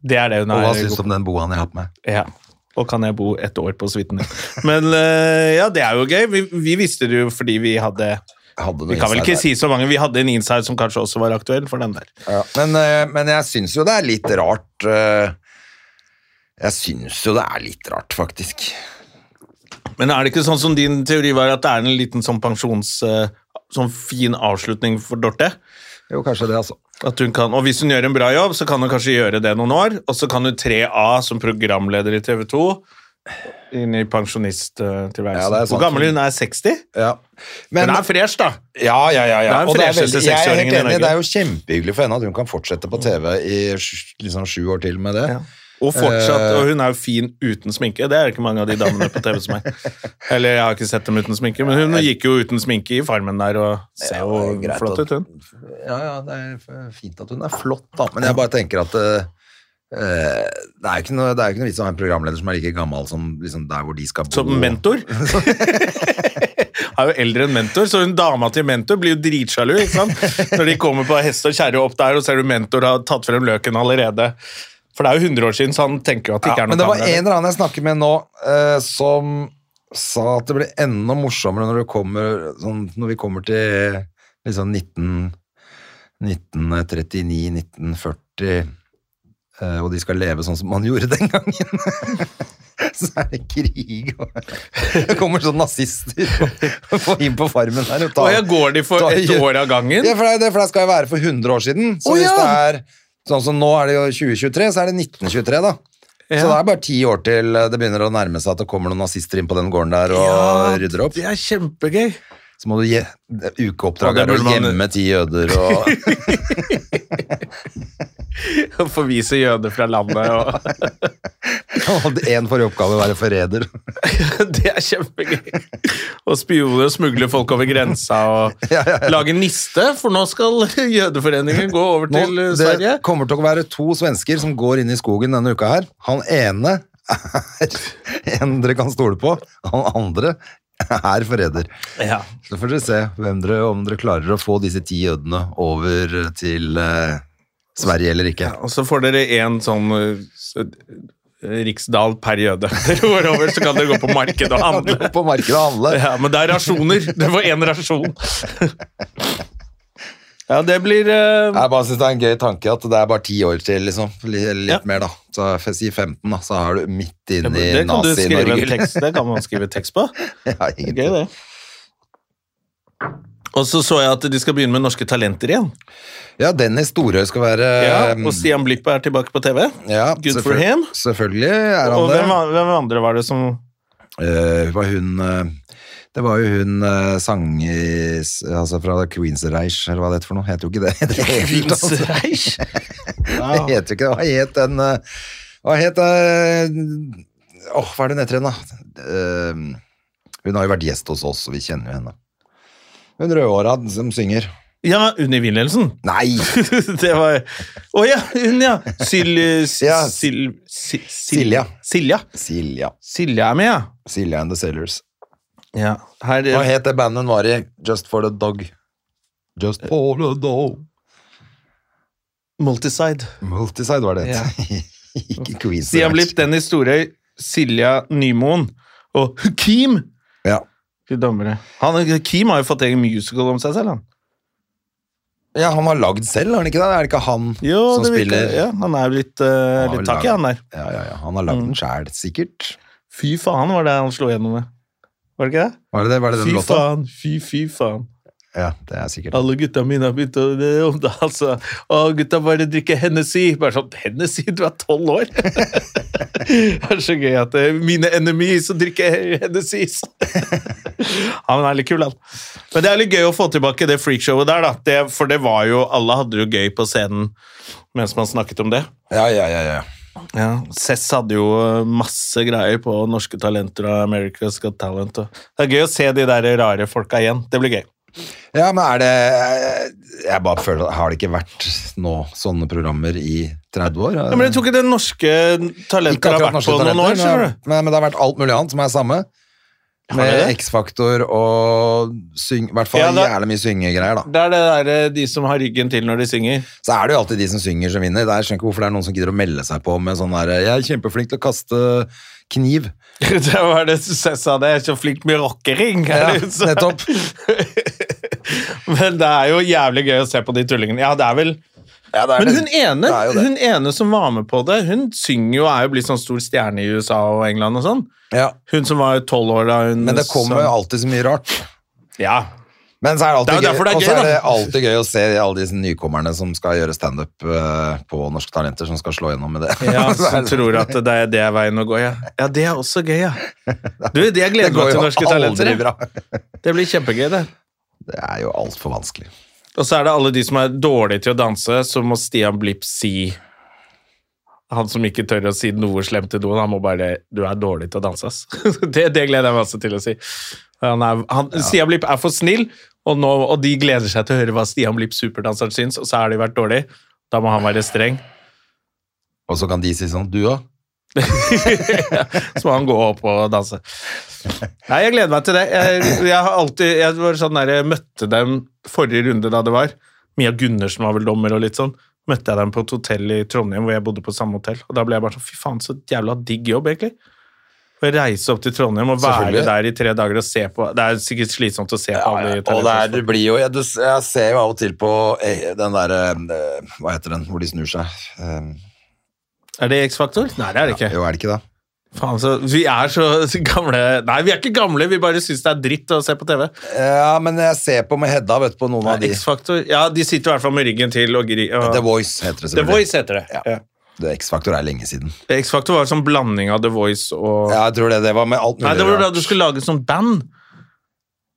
[SPEAKER 1] Det er det hun
[SPEAKER 2] Og
[SPEAKER 1] er
[SPEAKER 2] hva
[SPEAKER 1] god
[SPEAKER 2] syns du
[SPEAKER 1] på.
[SPEAKER 2] om den boaen jeg har på meg?
[SPEAKER 1] Ja. Og kan jeg bo et år på suiten? Men eh, ja, det er jo gøy. Vi, vi visste det jo fordi vi hadde
[SPEAKER 2] Jeg hadde noe
[SPEAKER 1] Vi kan vel
[SPEAKER 2] inside
[SPEAKER 1] ikke
[SPEAKER 2] der.
[SPEAKER 1] si så mange. Vi hadde en inside som kanskje også var aktuell for den der.
[SPEAKER 2] ja. men, eh, men jeg syns jo det er litt rart eh, Jeg syns jo det er litt rart, faktisk.
[SPEAKER 1] Men er det ikke sånn som din teori var, at det er en liten sånn pensjons... eh, Sånn fin avslutning for Dorte?
[SPEAKER 2] Jo, kanskje det, altså.
[SPEAKER 1] At hun kan, og hvis hun gjør en bra jobb, så kan hun kanskje gjøre det noen år, og så kan hun tre av som programleder i TV 2 inn i
[SPEAKER 2] Ja,
[SPEAKER 1] pensjonisttilværelsen.
[SPEAKER 2] det er sant.
[SPEAKER 1] Hvor gammel hun er? 60?
[SPEAKER 2] Ja.
[SPEAKER 1] Hun
[SPEAKER 2] Men,
[SPEAKER 1] er fresh, da!
[SPEAKER 2] Ja, ja, ja. ja.
[SPEAKER 1] Det er den
[SPEAKER 2] Og
[SPEAKER 1] fresheste
[SPEAKER 2] veldig- jeg er helt
[SPEAKER 1] 60-åringen i
[SPEAKER 2] enig,
[SPEAKER 1] Norge.
[SPEAKER 2] det er jo kjempehyggelig for henne at hun kan fortsette på TV i sj- liksom sju år til med det.
[SPEAKER 1] Og fortsatt,
[SPEAKER 2] Eh.
[SPEAKER 1] og hun er jo fin uten sminke. Det er det ikke mange av de damene på TV som er. Eller jeg har ikke sett dem uten sminke, men hun gikk jo uten sminke i Farmen der og ser jo
[SPEAKER 2] det er greit
[SPEAKER 1] flott
[SPEAKER 2] at-
[SPEAKER 1] ut, hun.
[SPEAKER 2] Ja, ja, det er f- fint at hun er flott, da. Men jeg bare tenker at eh, eh, det er jo ikke noe, det er jo ikke noe vits å ha en programleder som er like gammel som liksom, der hvor de skal bo.
[SPEAKER 1] Som mentor? er jo eldre enn mentor, så hun dama til mentor blir jo dritsjalu. ikke sant? Når de kommer på hest og kjerre opp der, og ser du mentor har tatt frem løken allerede. For det er jo 100 år siden, så han tenker jo at det ikke
[SPEAKER 2] Ja,
[SPEAKER 1] er
[SPEAKER 2] men
[SPEAKER 1] noe
[SPEAKER 2] det var en
[SPEAKER 1] kamera.
[SPEAKER 2] eller annen jeg snakker med nå, eh, som sa at det blir enda morsommere når, det kommer, sånn, når vi kommer til liksom 19, 1939, 1940, eh, og de skal leve sånn som man gjorde den gangen. Så er det krig, og det kommer sånn nazister og- og får inn på farmen her. Og tar-
[SPEAKER 1] Å, ja, går de for
[SPEAKER 2] tar-
[SPEAKER 1] ett år av gangen?
[SPEAKER 2] Ja, for det, er det, for det skal jo være for 100 år siden. Så
[SPEAKER 1] Å,
[SPEAKER 2] hvis
[SPEAKER 1] ja.
[SPEAKER 2] det er sånn som nå er det jo 2023, så er det 1923 da. Så det er bare ti år til det begynner å nærme seg at det kommer noen nazister inn på den gården der og rydder opp.
[SPEAKER 1] Det er kjempegøy.
[SPEAKER 2] Så må du je det er
[SPEAKER 1] Ja, det
[SPEAKER 2] ukeoppdrag er å
[SPEAKER 1] burde man-
[SPEAKER 2] gjemme ti jøder og
[SPEAKER 1] Å forvise jøder fra landet og
[SPEAKER 2] og en får i oppgave å være forræder.
[SPEAKER 1] Det er kjempegøy. Og spioner og smugle folk over grensa og lage niste, for nå skal jødeforeningen gå over
[SPEAKER 2] Nå,
[SPEAKER 1] til eh, Sverige.
[SPEAKER 2] det kommer til å være to svensker som går inn i skogen denne uka her. Han ene er en dere kan stole på, han andre er forræder.
[SPEAKER 1] Ja.
[SPEAKER 2] Så får dere se hvem dere, om dere klarer å få disse ti jødene over til eh, Sverige eller ikke.
[SPEAKER 1] Og så får dere én sånn eh, s- eh, riksdal per jøde. Dere går over, så kan dere gå på markedet og handle.
[SPEAKER 2] På markedet og handle.
[SPEAKER 1] Ja, men det er rasjoner. Det var én rasjon. Ja, det blir eh,
[SPEAKER 2] Jeg bare synes det er en gøy tanke at det er bare ti år til, liksom. Litt, litt
[SPEAKER 1] Ja.
[SPEAKER 2] mer, da. Så jeg si 15, da, så er du midt
[SPEAKER 1] det,
[SPEAKER 2] inne i
[SPEAKER 1] det kan du skrive en
[SPEAKER 2] Nazi-Norge.
[SPEAKER 1] tekst Det kan man skrive tekst på.
[SPEAKER 2] Ja,
[SPEAKER 1] Det er
[SPEAKER 2] egentlig.
[SPEAKER 1] Gøy, det. Og så så jeg at de skal begynne med Norske Talenter igjen.
[SPEAKER 2] ja, Dennis Storøy skal være
[SPEAKER 1] Ja,
[SPEAKER 2] um,
[SPEAKER 1] og Stian Blipp er tilbake på TV.
[SPEAKER 2] ja,
[SPEAKER 1] Good for
[SPEAKER 2] selvføl-
[SPEAKER 1] him.
[SPEAKER 2] Selvfølgelig er
[SPEAKER 1] Og hvem,
[SPEAKER 2] han det.
[SPEAKER 1] an- hvem andre var det som
[SPEAKER 2] Eh, var hun eh, Det var jo hun eh, sang i, s- altså fra Queensreich, eller hva det heter for noe. Heter jo ikke det. det heter helt, altså.
[SPEAKER 1] Vince Reich?
[SPEAKER 2] Det heter jo ikke det. Hva het den eh, Hva het eh, Åh, hva er det hun heter igjen, da? Eh, hun har jo vært gjest hos oss, og vi kjenner jo henne. Hun rødhåra som synger.
[SPEAKER 1] Ja, Unni Wilhelmsen.
[SPEAKER 2] Nei!
[SPEAKER 1] det var Å ja, hun, ja. Syl, s-
[SPEAKER 2] Ja.
[SPEAKER 1] Sil, si- Sil-
[SPEAKER 2] Silja.
[SPEAKER 1] Silja.
[SPEAKER 2] Silja.
[SPEAKER 1] Silja er med, ja.
[SPEAKER 2] Silja and the Sailors.
[SPEAKER 1] ja. Her,
[SPEAKER 2] Hva het det bandet hun var i? Just for the Dog. Just for the Dog.
[SPEAKER 1] Multiside.
[SPEAKER 2] Multiside var det.
[SPEAKER 1] Ja.
[SPEAKER 2] ikke
[SPEAKER 1] Stian Blipp,
[SPEAKER 2] Queensreich.
[SPEAKER 1] Dennis Storøy, Silja Nymoen og Hukim.
[SPEAKER 2] Ja.
[SPEAKER 1] Gud dommere. Han, Kim har jo fått egen musical om seg selv, han.
[SPEAKER 2] ja, han har lagd selv, har han ikke det? Er det ikke han
[SPEAKER 1] Jo,
[SPEAKER 2] som
[SPEAKER 1] det virker-
[SPEAKER 2] spiller
[SPEAKER 1] ja, han er jo litt, uh,
[SPEAKER 2] har
[SPEAKER 1] litt
[SPEAKER 2] vel
[SPEAKER 1] tak
[SPEAKER 2] laget-
[SPEAKER 1] i han der.
[SPEAKER 2] ja, ja, ja. Han har lagd den sjæl, sikkert.
[SPEAKER 1] Fy faen var det han slo gjennom med. Var det ikke det?
[SPEAKER 2] Var det, det? Var det den
[SPEAKER 1] Fy
[SPEAKER 2] låta?
[SPEAKER 1] faen, fy fy faen.
[SPEAKER 2] Ja, det er sikkert.
[SPEAKER 1] Alle gutta mine har begynt å det, om det, altså. Å, gutta bare drikker Hennessy. Bare sånn, Hennessy, du er tolv år! det er så gøy at det er mine enemies som drikker Hennessy. ja, men han er litt kul, han. Men det er litt gøy å få tilbake det freakshowet der, da. Det, for det var jo Alle hadde det jo gøy på scenen mens man snakket om det.
[SPEAKER 2] Ja, ja, ja, ja.
[SPEAKER 1] Ja, Cess hadde jo eh, masse greier på Norske Talenter og America's Got Talent. Og det er gøy å se de der rare folka igjen. Det blir gøy.
[SPEAKER 2] Ja, men er det Jeg bare føler Har det ikke vært nå sånne programmer i 30 år?
[SPEAKER 1] Ja, men jeg tror ikke det norske
[SPEAKER 2] Ikke
[SPEAKER 1] talenter har
[SPEAKER 2] akkurat
[SPEAKER 1] vært
[SPEAKER 2] norske
[SPEAKER 1] på noen år.
[SPEAKER 2] talenter,
[SPEAKER 1] skjønner
[SPEAKER 2] men- Nei, men det har vært alt mulig annet som er samme.
[SPEAKER 1] Har det
[SPEAKER 2] Med
[SPEAKER 1] det?
[SPEAKER 2] X-Faktor og syng, i hvert fall
[SPEAKER 1] Ja, det-
[SPEAKER 2] jævlig mye syngegreier, da.
[SPEAKER 1] du? Det er det der, eh, de som har ryggen til når de synger.
[SPEAKER 2] Så er det jo alltid de som synger, som vinner. Det er- Jeg skjønner ikke hvorfor det er noen som gidder å melde seg på med sånn derre Jeg er kjempeflink til å kaste kniv.
[SPEAKER 1] Det var det jeg sa, det er så flink med rockering.
[SPEAKER 2] Ja,
[SPEAKER 1] eller så-
[SPEAKER 2] nettopp.
[SPEAKER 1] Men det er jo jævlig gøy å se på de tullingene. Ja, det er vel...
[SPEAKER 2] Ja, det er
[SPEAKER 1] Men
[SPEAKER 2] det.
[SPEAKER 1] hun
[SPEAKER 2] Det
[SPEAKER 1] ene,
[SPEAKER 2] er jo det.
[SPEAKER 1] hun ene som var med på det, hun synger jo og er jo blitt sånn stor stjerne i USA og England og sånn.
[SPEAKER 2] ja.
[SPEAKER 1] Hun som var tolv år da hun
[SPEAKER 2] Men det kommer
[SPEAKER 1] sånn-
[SPEAKER 2] jo alltid så mye rart.
[SPEAKER 1] Ja,
[SPEAKER 2] Men så er det alltid,
[SPEAKER 1] Det er jo derfor det
[SPEAKER 2] gøy,
[SPEAKER 1] er
[SPEAKER 2] og så
[SPEAKER 1] gøy,
[SPEAKER 2] er det
[SPEAKER 1] da.
[SPEAKER 2] alltid gøy å se alle disse nykommerne som skal gjøre standup eh, på Norske Talenter, som skal slå gjennom med det.
[SPEAKER 1] Ja,
[SPEAKER 2] Så er
[SPEAKER 1] som
[SPEAKER 2] det-
[SPEAKER 1] tror at det er det veien å gå, ja. Ja, det er også gøy, ja. Du, det
[SPEAKER 2] det
[SPEAKER 1] jeg gleder
[SPEAKER 2] går
[SPEAKER 1] meg til
[SPEAKER 2] jo
[SPEAKER 1] Norske Talenter.
[SPEAKER 2] aldri
[SPEAKER 1] jeg.
[SPEAKER 2] bra.
[SPEAKER 1] Det blir kjempegøy, det.
[SPEAKER 2] Det er jo altfor vanskelig.
[SPEAKER 1] Og så er det alle de som er dårlige til å danse, så må Stian Blipp si Han som ikke tør å si noe slemt til noen, han må bare Du er dårlig til å danse, ass. Det, det gleder jeg meg også til å si. Han er, han, Stian Blipp er for snill, og, nå, og de gleder seg til å høre hva Stian Blipp superdanseren syns, og så har de vært dårlig. Da må han være streng.
[SPEAKER 2] Og så kan de si sånn, du òg?
[SPEAKER 1] Så må han gå opp og danse. Nei, jeg gleder meg til det. Jeg, jeg har alltid jeg var sånn der, jeg møtte dem forrige runde da det var. Mia Gundersen var vel dommer og litt sånn. møtte jeg dem på et hotell i Trondheim hvor jeg bodde på samme hotell. Og da ble jeg bare sånn Fy faen, så jævla digg jobb, egentlig. Å reise opp til Trondheim og være
[SPEAKER 2] Selvfølgelig.
[SPEAKER 1] der i tre dager og se på Det er sikkert slitsomt å se på
[SPEAKER 2] og
[SPEAKER 1] alle de
[SPEAKER 2] det er,
[SPEAKER 1] telefonene.
[SPEAKER 2] det blir jo jeg, du, jeg ser jo av og til på eh, den derre Hva heter den, hvor de snur seg? Eh,
[SPEAKER 1] Er det X-faktor? Nei, det er det ikke.
[SPEAKER 2] jo, er det ikke det?
[SPEAKER 1] Faen, så Vi er så gamle Nei, vi er ikke gamle, vi bare syns det er dritt å se på TV.
[SPEAKER 2] Ja, men jeg ser på med Hedda, vet du, på noen
[SPEAKER 1] Nei,
[SPEAKER 2] av de.
[SPEAKER 1] X-faktor Ja, de sitter i hvert fall med ryggen til og gri... Og...
[SPEAKER 2] The Voice heter det
[SPEAKER 1] The
[SPEAKER 2] selvfølgelig.
[SPEAKER 1] Voice heter det.
[SPEAKER 2] Ja.
[SPEAKER 1] Ja.
[SPEAKER 2] Det X-Factor er lenge siden.
[SPEAKER 1] X-faktor var en sånn blanding av The Voice og
[SPEAKER 2] Ja, jeg tror det, det var med alt mulig.
[SPEAKER 1] Nei, det var da
[SPEAKER 2] rart.
[SPEAKER 1] du skulle lage sånn band.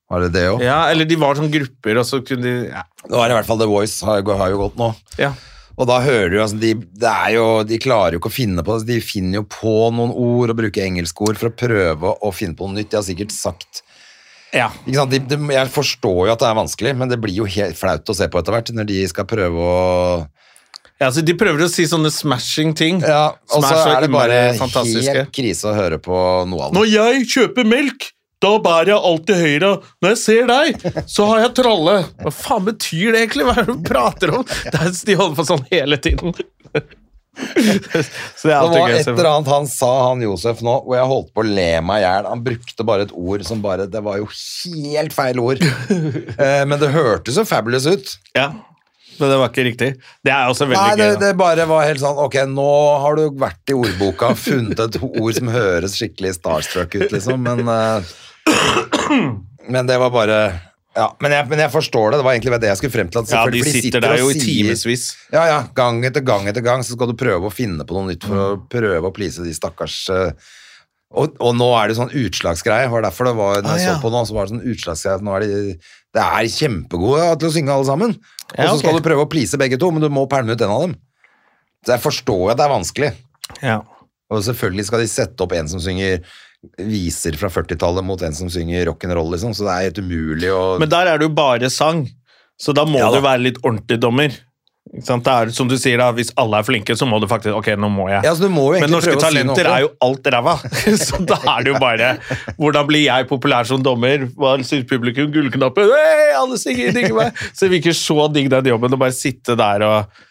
[SPEAKER 2] Var det det òg?
[SPEAKER 1] Ja, Eller de var sånn grupper, og så kunne de Ja.
[SPEAKER 2] Nå er det i hvert fall The Voice har, har jo gått nå.
[SPEAKER 1] ja.
[SPEAKER 2] Og da hører du altså, de, det er jo, de klarer jo ikke å finne på det. De finner jo på noen ord og bruker engelskord for å prøve å finne på noe nytt. De har sikkert sagt
[SPEAKER 1] ja.
[SPEAKER 2] ikke sant? De, de, Jeg forstår jo at det er vanskelig, men det blir jo helt flaut å se på etter hvert når de skal prøve å
[SPEAKER 1] Ja, så De prøver å si sånne smashing ting.
[SPEAKER 2] Ja,
[SPEAKER 1] Som
[SPEAKER 2] Og så
[SPEAKER 1] er så
[SPEAKER 2] er, det bare
[SPEAKER 1] innmari fantastiske.
[SPEAKER 2] helt krise å høre på noe av det.
[SPEAKER 1] Når jeg kjøper melk, da bærer jeg alltid høyre. Når jeg ser deg, så har jeg tralle. Hva faen betyr det egentlig? Hva er det du prater om? Det er, de holder på sånn hele tiden. Så det er
[SPEAKER 2] Det var
[SPEAKER 1] alltid gøy å
[SPEAKER 2] et
[SPEAKER 1] se
[SPEAKER 2] eller
[SPEAKER 1] på.
[SPEAKER 2] annet han sa, han Josef, nå, hvor jeg holdt på å le meg i hjel. Han brukte bare et ord som bare Det var jo helt feil ord. eh, men det hørtes jo fabulous ut.
[SPEAKER 1] Ja. Men det var ikke riktig. Det er også veldig
[SPEAKER 2] Nei, det,
[SPEAKER 1] gøy. da.
[SPEAKER 2] det bare var helt sånn Ok, nå har du vært i ordboka og funnet et ord som høres skikkelig starstruck ut, liksom, men eh, Men det var bare ja, men jeg, men jeg forstår det. Det var egentlig det jeg skulle frem til. At
[SPEAKER 1] Ja,
[SPEAKER 2] selvfølgelig-
[SPEAKER 1] de
[SPEAKER 2] for
[SPEAKER 1] sitter der
[SPEAKER 2] og
[SPEAKER 1] jo i
[SPEAKER 2] sier-
[SPEAKER 1] timevis.
[SPEAKER 2] Ja, ja. Gang etter gang etter gang så skal du prøve å finne på noe nytt for å
[SPEAKER 1] Mm.
[SPEAKER 2] prøve å please de stakkars eh, og, og nå er det sånn utslagsgreie. var derfor det var, når jeg
[SPEAKER 1] Ah, ja.
[SPEAKER 2] så på nå, så var det sånn utslagsgreie. at Nå er de, det er kjempegode til å synge alle sammen. Og så
[SPEAKER 1] Ja, ok.
[SPEAKER 2] skal du prøve å please begge to, men du må pælme ut en av dem. Så jeg forstår at det er vanskelig.
[SPEAKER 1] Ja.
[SPEAKER 2] Og selvfølgelig skal de sette opp en som synger viser fra 40-tallet mot en som synger rock'n'roll, liksom. Så det er helt umulig å
[SPEAKER 1] Men der er det jo bare sang, så da må
[SPEAKER 2] Ja, da.
[SPEAKER 1] du være litt ordentlig dommer. Ikke sant? Det er, som du sier da, Hvis alle er flinke, så må du faktisk Ok, nå må jeg.
[SPEAKER 2] Ja, så du må jo
[SPEAKER 1] Men
[SPEAKER 2] egentlig
[SPEAKER 1] norske
[SPEAKER 2] prøve å si noe
[SPEAKER 1] talenter
[SPEAKER 2] på.
[SPEAKER 1] er jo alt ræva. så da er det jo bare Hvordan blir jeg populær som dommer? Hva syns publikum? Gullknappen? Hei, alle synger, digger meg! Så det virker så digg, den jobben, å bare sitte der og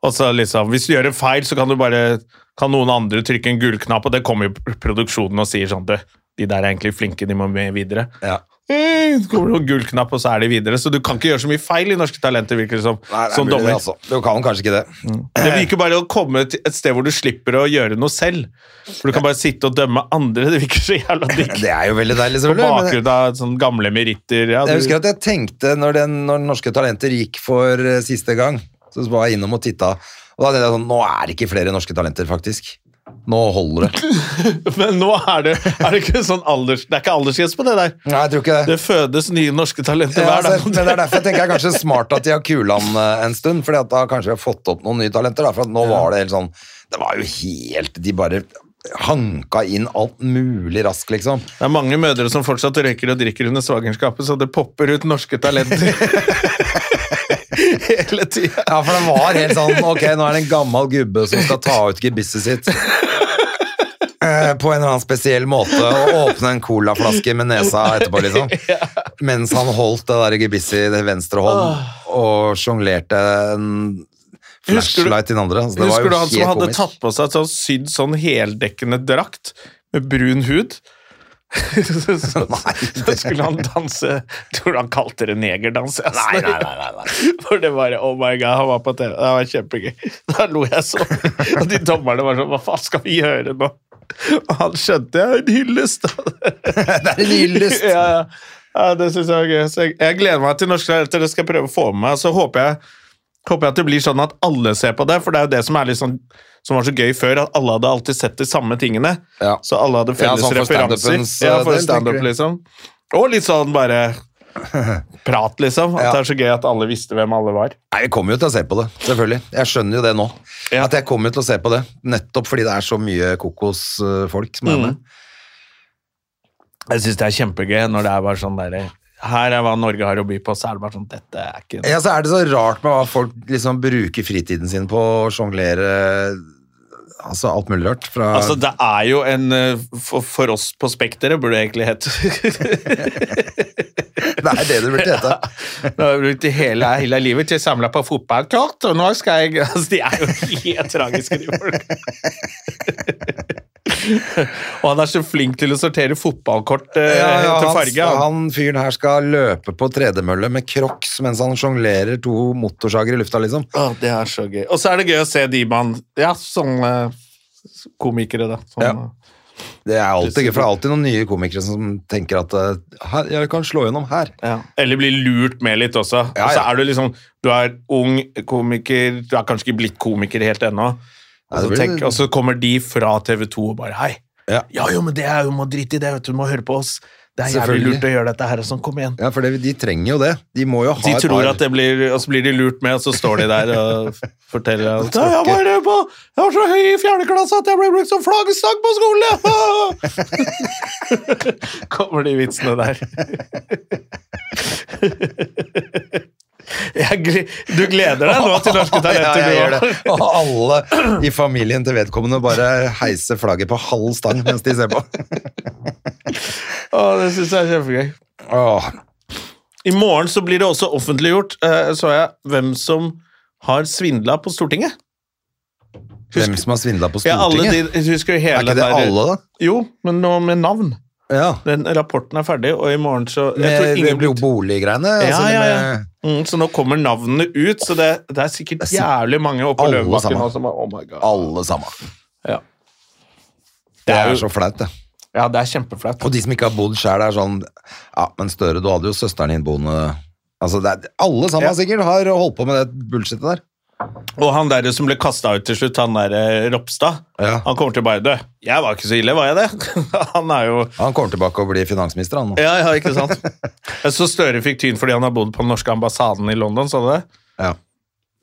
[SPEAKER 1] og så liksom, Hvis du gjør en feil, så kan du bare kan noen andre trykke en gullknapp, og det kommer jo produksjonen og sier sånn Du, de der er egentlig flinke, de må med videre.
[SPEAKER 2] Ja.
[SPEAKER 1] Eh, Så kommer det noen gullknapp, og så er de videre. Så du kan ikke gjøre så mye feil i Norske Talenter, virker det som.
[SPEAKER 2] Nei, det er
[SPEAKER 1] som
[SPEAKER 2] mulig,
[SPEAKER 1] dommer.
[SPEAKER 2] altså. Du kan kanskje ikke det.
[SPEAKER 1] Det virker bare å komme til et sted hvor du slipper å gjøre noe selv. For du kan bare sitte og dømme andre. Det virker så jævla digg.
[SPEAKER 2] Det er jo veldig deilig,
[SPEAKER 1] På
[SPEAKER 2] selvfølgelig. men-
[SPEAKER 1] bakgrunn av sånne gamle meritter. Ja,
[SPEAKER 2] Jeg husker
[SPEAKER 1] du,
[SPEAKER 2] at jeg tenkte når, den, når Norske Talenter gikk for eh, siste gang, så var jeg innom og titta, og da tenkte jeg sånn Nå er det ikke flere Norske Talenter, faktisk. Nå holder det.
[SPEAKER 1] men nå er det, er det ikke sånn alders... Det er ikke aldersgrense på det der.
[SPEAKER 2] Nei, jeg tror ikke det.
[SPEAKER 1] Det fødes nye norske talenter
[SPEAKER 2] Ja,
[SPEAKER 1] hver
[SPEAKER 2] altså, men
[SPEAKER 1] dag.
[SPEAKER 2] det er derfor jeg tenker jeg kanskje smart at de har Kulan eh, en stund, for da kanskje vi har fått opp noen nye talenter. Da, for at nå var det helt sånn Det var jo helt De bare hanka inn alt mulig raskt, liksom.
[SPEAKER 1] Det er mange mødre som fortsatt røyker og drikker under svangerskapet, så det popper ut norske talenter. Hele tida.
[SPEAKER 2] Ja, for det var helt sånn Ok, nå er det en gammel gubbe som skal ta ut gebisset sitt. eh, På en eller annen spesiell måte og åpne en colaflaske med nesa etterpå, liksom. Mens han holdt det der gebisset i det venstre hånd og sjonglerte en
[SPEAKER 1] Husker du-
[SPEAKER 2] flashlight i den andre. Altså, det var
[SPEAKER 1] Husker du
[SPEAKER 2] jo
[SPEAKER 1] han som
[SPEAKER 2] helt
[SPEAKER 1] hadde
[SPEAKER 2] komisk.
[SPEAKER 1] tatt på seg et sånn sydd sånn heldekkende drakt med brun hud? så, så, så skulle han danse Tror du han kalte det negerdans? Altså.
[SPEAKER 2] Nei, nei, nei, nei, nei.
[SPEAKER 1] For det var Oh my god, han var på TV. Det var kjempegøy. Da lo jeg sånn. Og de dommerne var sånn Hva faen skal vi gjøre nå? Og han skjønte jeg en hyllest.
[SPEAKER 2] Det er en hyllest.
[SPEAKER 1] ja, ja. ja, det syns jeg var gøy. Så jeg, jeg gleder meg til norske talenter. Det skal jeg prøve å få med meg. Så håper jeg, håper jeg at det blir sånn at alle ser på det, for det er jo det som er litt sånn som var så gøy før, at alle hadde alltid sett de samme tingene.
[SPEAKER 2] Ja.
[SPEAKER 1] Så alle hadde
[SPEAKER 2] Ja,
[SPEAKER 1] felles
[SPEAKER 2] sånn for
[SPEAKER 1] referanser.
[SPEAKER 2] stand-upens,
[SPEAKER 1] Ja, for
[SPEAKER 2] eh, del,
[SPEAKER 1] standup,
[SPEAKER 2] tenker du.
[SPEAKER 1] liksom. Og litt sånn bare prat, liksom. At
[SPEAKER 2] Ja.
[SPEAKER 1] det er så gøy at alle visste hvem alle var.
[SPEAKER 2] Nei, Vi kommer jo til å se på det, selvfølgelig. Jeg skjønner jo det nå.
[SPEAKER 1] Ja.
[SPEAKER 2] At jeg kommer til å se på det, nettopp fordi det er så mye kokosfolk
[SPEAKER 1] Mm.
[SPEAKER 2] som er med.
[SPEAKER 1] Jeg syns det er kjempegøy når det er bare sånn derre her er hva Norge har å by på, så er det bare sånn Dette er ikke
[SPEAKER 2] Ja, så er det så rart med hva folk liksom bruker fritiden sin på å sjonglere altså alt mulig rart. Fra
[SPEAKER 1] Altså, det er jo en eh, For, for oss på Spekteret burde det egentlig hett
[SPEAKER 2] Det er det det burde hete.
[SPEAKER 1] Nå har jeg brukt det hele, hele livet til å samle på fotballkort, og nå skal jeg altså, De er jo helt tragiske, de folk. og han er så flink til å sortere fotballkort eh,
[SPEAKER 2] Ja, ja,
[SPEAKER 1] til
[SPEAKER 2] han-
[SPEAKER 1] farge. Han.
[SPEAKER 2] Han fyren her skal løpe på tredemølle med crocs mens han sjonglerer to motorsager i lufta, liksom.
[SPEAKER 1] Å, det er så gøy. Og så er det gøy å se de man Ja, sånne komikere, da. Sånn,
[SPEAKER 2] Ja. Det er alltid gøy, for det er alltid noen nye komikere som tenker at eh, her, jeg kan slå gjennom her.
[SPEAKER 1] Ja. Eller bli lurt med litt også.
[SPEAKER 2] Ja,
[SPEAKER 1] Og så
[SPEAKER 2] ja.
[SPEAKER 1] er du liksom Du er ung komiker, du er kanskje ikke blitt komiker helt ennå. Og
[SPEAKER 2] Nei,
[SPEAKER 1] så,
[SPEAKER 2] det blir-
[SPEAKER 1] tenk, og så kommer de fra TV 2 og bare Hei.
[SPEAKER 2] Ja.
[SPEAKER 1] ja, jo, men det er jo må drite i det, vet du. Du må høre på oss. Det er jævlig
[SPEAKER 2] Selvfølgelig.
[SPEAKER 1] lurt å gjøre dette her. og Sånn, kom igjen.
[SPEAKER 2] Ja, for det, de trenger jo det. De må jo ha
[SPEAKER 1] De
[SPEAKER 2] et
[SPEAKER 1] tror
[SPEAKER 2] par-
[SPEAKER 1] at det blir Og så blir de lurt med, og så står de der og forteller at «Ja, jeg var, på, jeg var så høy i fjerde klasse at jeg ble brukt som flaggstang på skolen! ja!» Kommer de vitsene der. Jeg, gle- du gleder deg nå til Norske
[SPEAKER 2] Ja,
[SPEAKER 1] Talenter,
[SPEAKER 2] jeg gjør
[SPEAKER 1] du
[SPEAKER 2] det. Og alle i familien til vedkommende bare heiser flagget på halv stang mens de ser på.
[SPEAKER 1] Å, Det syns jeg er kjempegøy.
[SPEAKER 2] Åh,
[SPEAKER 1] I morgen så blir det også offentliggjort, eh, så jeg, hvem som har svindla på Stortinget.
[SPEAKER 2] hvem som har svindla på
[SPEAKER 1] Ja, alle
[SPEAKER 2] Stortinget?
[SPEAKER 1] de, husker du hele
[SPEAKER 2] er ikke det
[SPEAKER 1] den der-
[SPEAKER 2] alle, da?
[SPEAKER 1] Jo, men nå med navn.
[SPEAKER 2] Ja.
[SPEAKER 1] Den rapporten er ferdig, og i morgen så jeg tror
[SPEAKER 2] Med, det
[SPEAKER 1] ingen
[SPEAKER 2] blir jo
[SPEAKER 1] blir-
[SPEAKER 2] boliggreiene.
[SPEAKER 1] Ja,
[SPEAKER 2] altså, det
[SPEAKER 1] ja, ja.
[SPEAKER 2] med-
[SPEAKER 1] mm, Så nå kommer navnene ut, så det, det er sikkert
[SPEAKER 2] er sikkert
[SPEAKER 1] jævlig mange oppe på
[SPEAKER 2] alle
[SPEAKER 1] Løvebakken
[SPEAKER 2] sammen.
[SPEAKER 1] nå som er Oh my god.
[SPEAKER 2] Alle sammen.
[SPEAKER 1] Ja.
[SPEAKER 2] Det
[SPEAKER 1] jo-
[SPEAKER 2] er så flaut, det.
[SPEAKER 1] Ja, det er kjempeflaut.
[SPEAKER 2] Og de som ikke har bodd sjøl, er sånn Ja, men Støre, du hadde jo søsteren din boende Altså, det er, Alle sammen
[SPEAKER 1] Ja.
[SPEAKER 2] sikkert har holdt på med det bullshitet der.
[SPEAKER 1] Og han der som ble kasta ut til slutt, han der eh, Ropstad,
[SPEAKER 2] Ja.
[SPEAKER 1] han kommer til å bare dø. Jeg var ikke så ille, var jeg det? han er jo
[SPEAKER 2] Han kommer tilbake og blir finansminister, han nå.
[SPEAKER 1] Ja, ja, ikke sant? så Støre fikk tyn fordi han har bodd på den norske ambassaden i London, så du det?
[SPEAKER 2] Ja.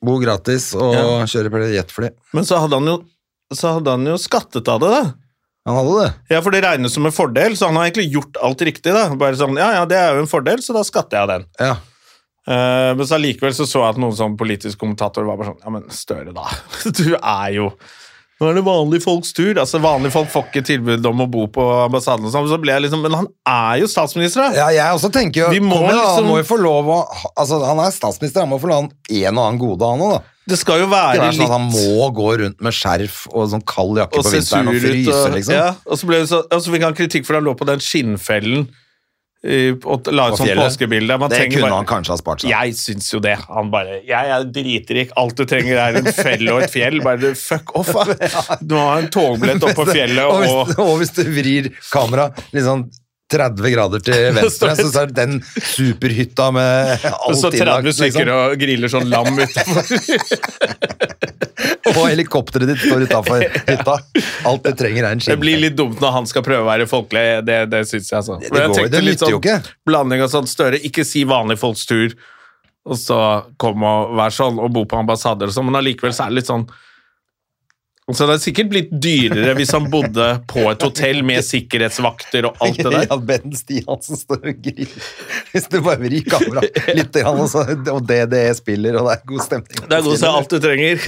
[SPEAKER 2] Bo gratis og
[SPEAKER 1] Ja.
[SPEAKER 2] kjøre på jetfly.
[SPEAKER 1] Men så hadde han jo, så hadde han jo skattet av det, da.
[SPEAKER 2] Han hadde det.
[SPEAKER 1] Ja, for det regnes som en fordel, så han har egentlig gjort alt riktig. da. Bare sånn, ja, ja, det er jo en fordel, så da skatter jeg av den.
[SPEAKER 2] Ja.
[SPEAKER 1] Eh, men så allikevel så så jeg at noen sånn politisk kommentator var bare sånn, ja, men Støre da, du er jo... Nå er det vanlige folks tur. Altså, vanlige folk får ikke tilbud om å bo på ambassaden og sånn, så ble jeg liksom, men han er jo statsminister da.
[SPEAKER 2] ja, jeg også tenker
[SPEAKER 1] Vi
[SPEAKER 2] jo
[SPEAKER 1] må
[SPEAKER 2] kom igjen,
[SPEAKER 1] liksom-
[SPEAKER 2] Han må jo få lov å Altså, han er statsminister, han må få lov å ha en og annen gode, han òg, da.
[SPEAKER 1] Det skal jo
[SPEAKER 2] Det
[SPEAKER 1] være
[SPEAKER 2] er
[SPEAKER 1] litt...
[SPEAKER 2] sånn at Han må gå rundt med skjerf og sånn kald jakke
[SPEAKER 1] og
[SPEAKER 2] på
[SPEAKER 1] se sur
[SPEAKER 2] vinteren og
[SPEAKER 1] ut.
[SPEAKER 2] fryse,
[SPEAKER 1] Og,
[SPEAKER 2] liksom.
[SPEAKER 1] ja, og, så ble det så, og så fikk han kritikk for at han lå på den skinnfellen eh, og la
[SPEAKER 2] På
[SPEAKER 1] ut sånn
[SPEAKER 2] fjellet.
[SPEAKER 1] påskebilde. Man
[SPEAKER 2] Det
[SPEAKER 1] trenger
[SPEAKER 2] kunne han
[SPEAKER 1] bare-
[SPEAKER 2] kanskje ha spart seg.
[SPEAKER 1] Jeg syns jo det. Han bare Jeg er dritrik. Alt du trenger, er en fell og et fjell. Bare du, fuck off, da. Du har en togbillett opp på fjellet
[SPEAKER 2] og
[SPEAKER 1] og
[SPEAKER 2] hvis, og hvis du vrir kamera litt sånn 30 grader til venstre, så er det den superhytta med
[SPEAKER 1] og
[SPEAKER 2] alt
[SPEAKER 1] så 30
[SPEAKER 2] innlagt,
[SPEAKER 1] stykker
[SPEAKER 2] liksom.
[SPEAKER 1] og griller sånn lam utenfor.
[SPEAKER 2] Og helikopteret ditt står utafor hytta. Alt det trenger, er en
[SPEAKER 1] Det
[SPEAKER 2] skinn.
[SPEAKER 1] blir litt dumt når han skal prøve å være folkelig. Det, det syns jeg, altså.
[SPEAKER 2] Det- det
[SPEAKER 1] Men jeg
[SPEAKER 2] går jo-
[SPEAKER 1] tenkte
[SPEAKER 2] det
[SPEAKER 1] litt
[SPEAKER 2] nytter jo
[SPEAKER 1] sånn
[SPEAKER 2] ikke.
[SPEAKER 1] Blanding av sånn Støre, ikke si vanlige folks tur, og så kom og vær sånn og bo på ambassader og sånn, men allikevel så er det litt sånn så det er sikkert blitt dyrere hvis han bodde på et hotell med sikkerhetsvakter og alt det der.
[SPEAKER 2] Ja, Ben Stiansen står og griner. Hvis du bare vrir kameraet litt, grann, og, så, og DDE spiller, og det er god stemning.
[SPEAKER 1] Det er godt å se alt du trenger.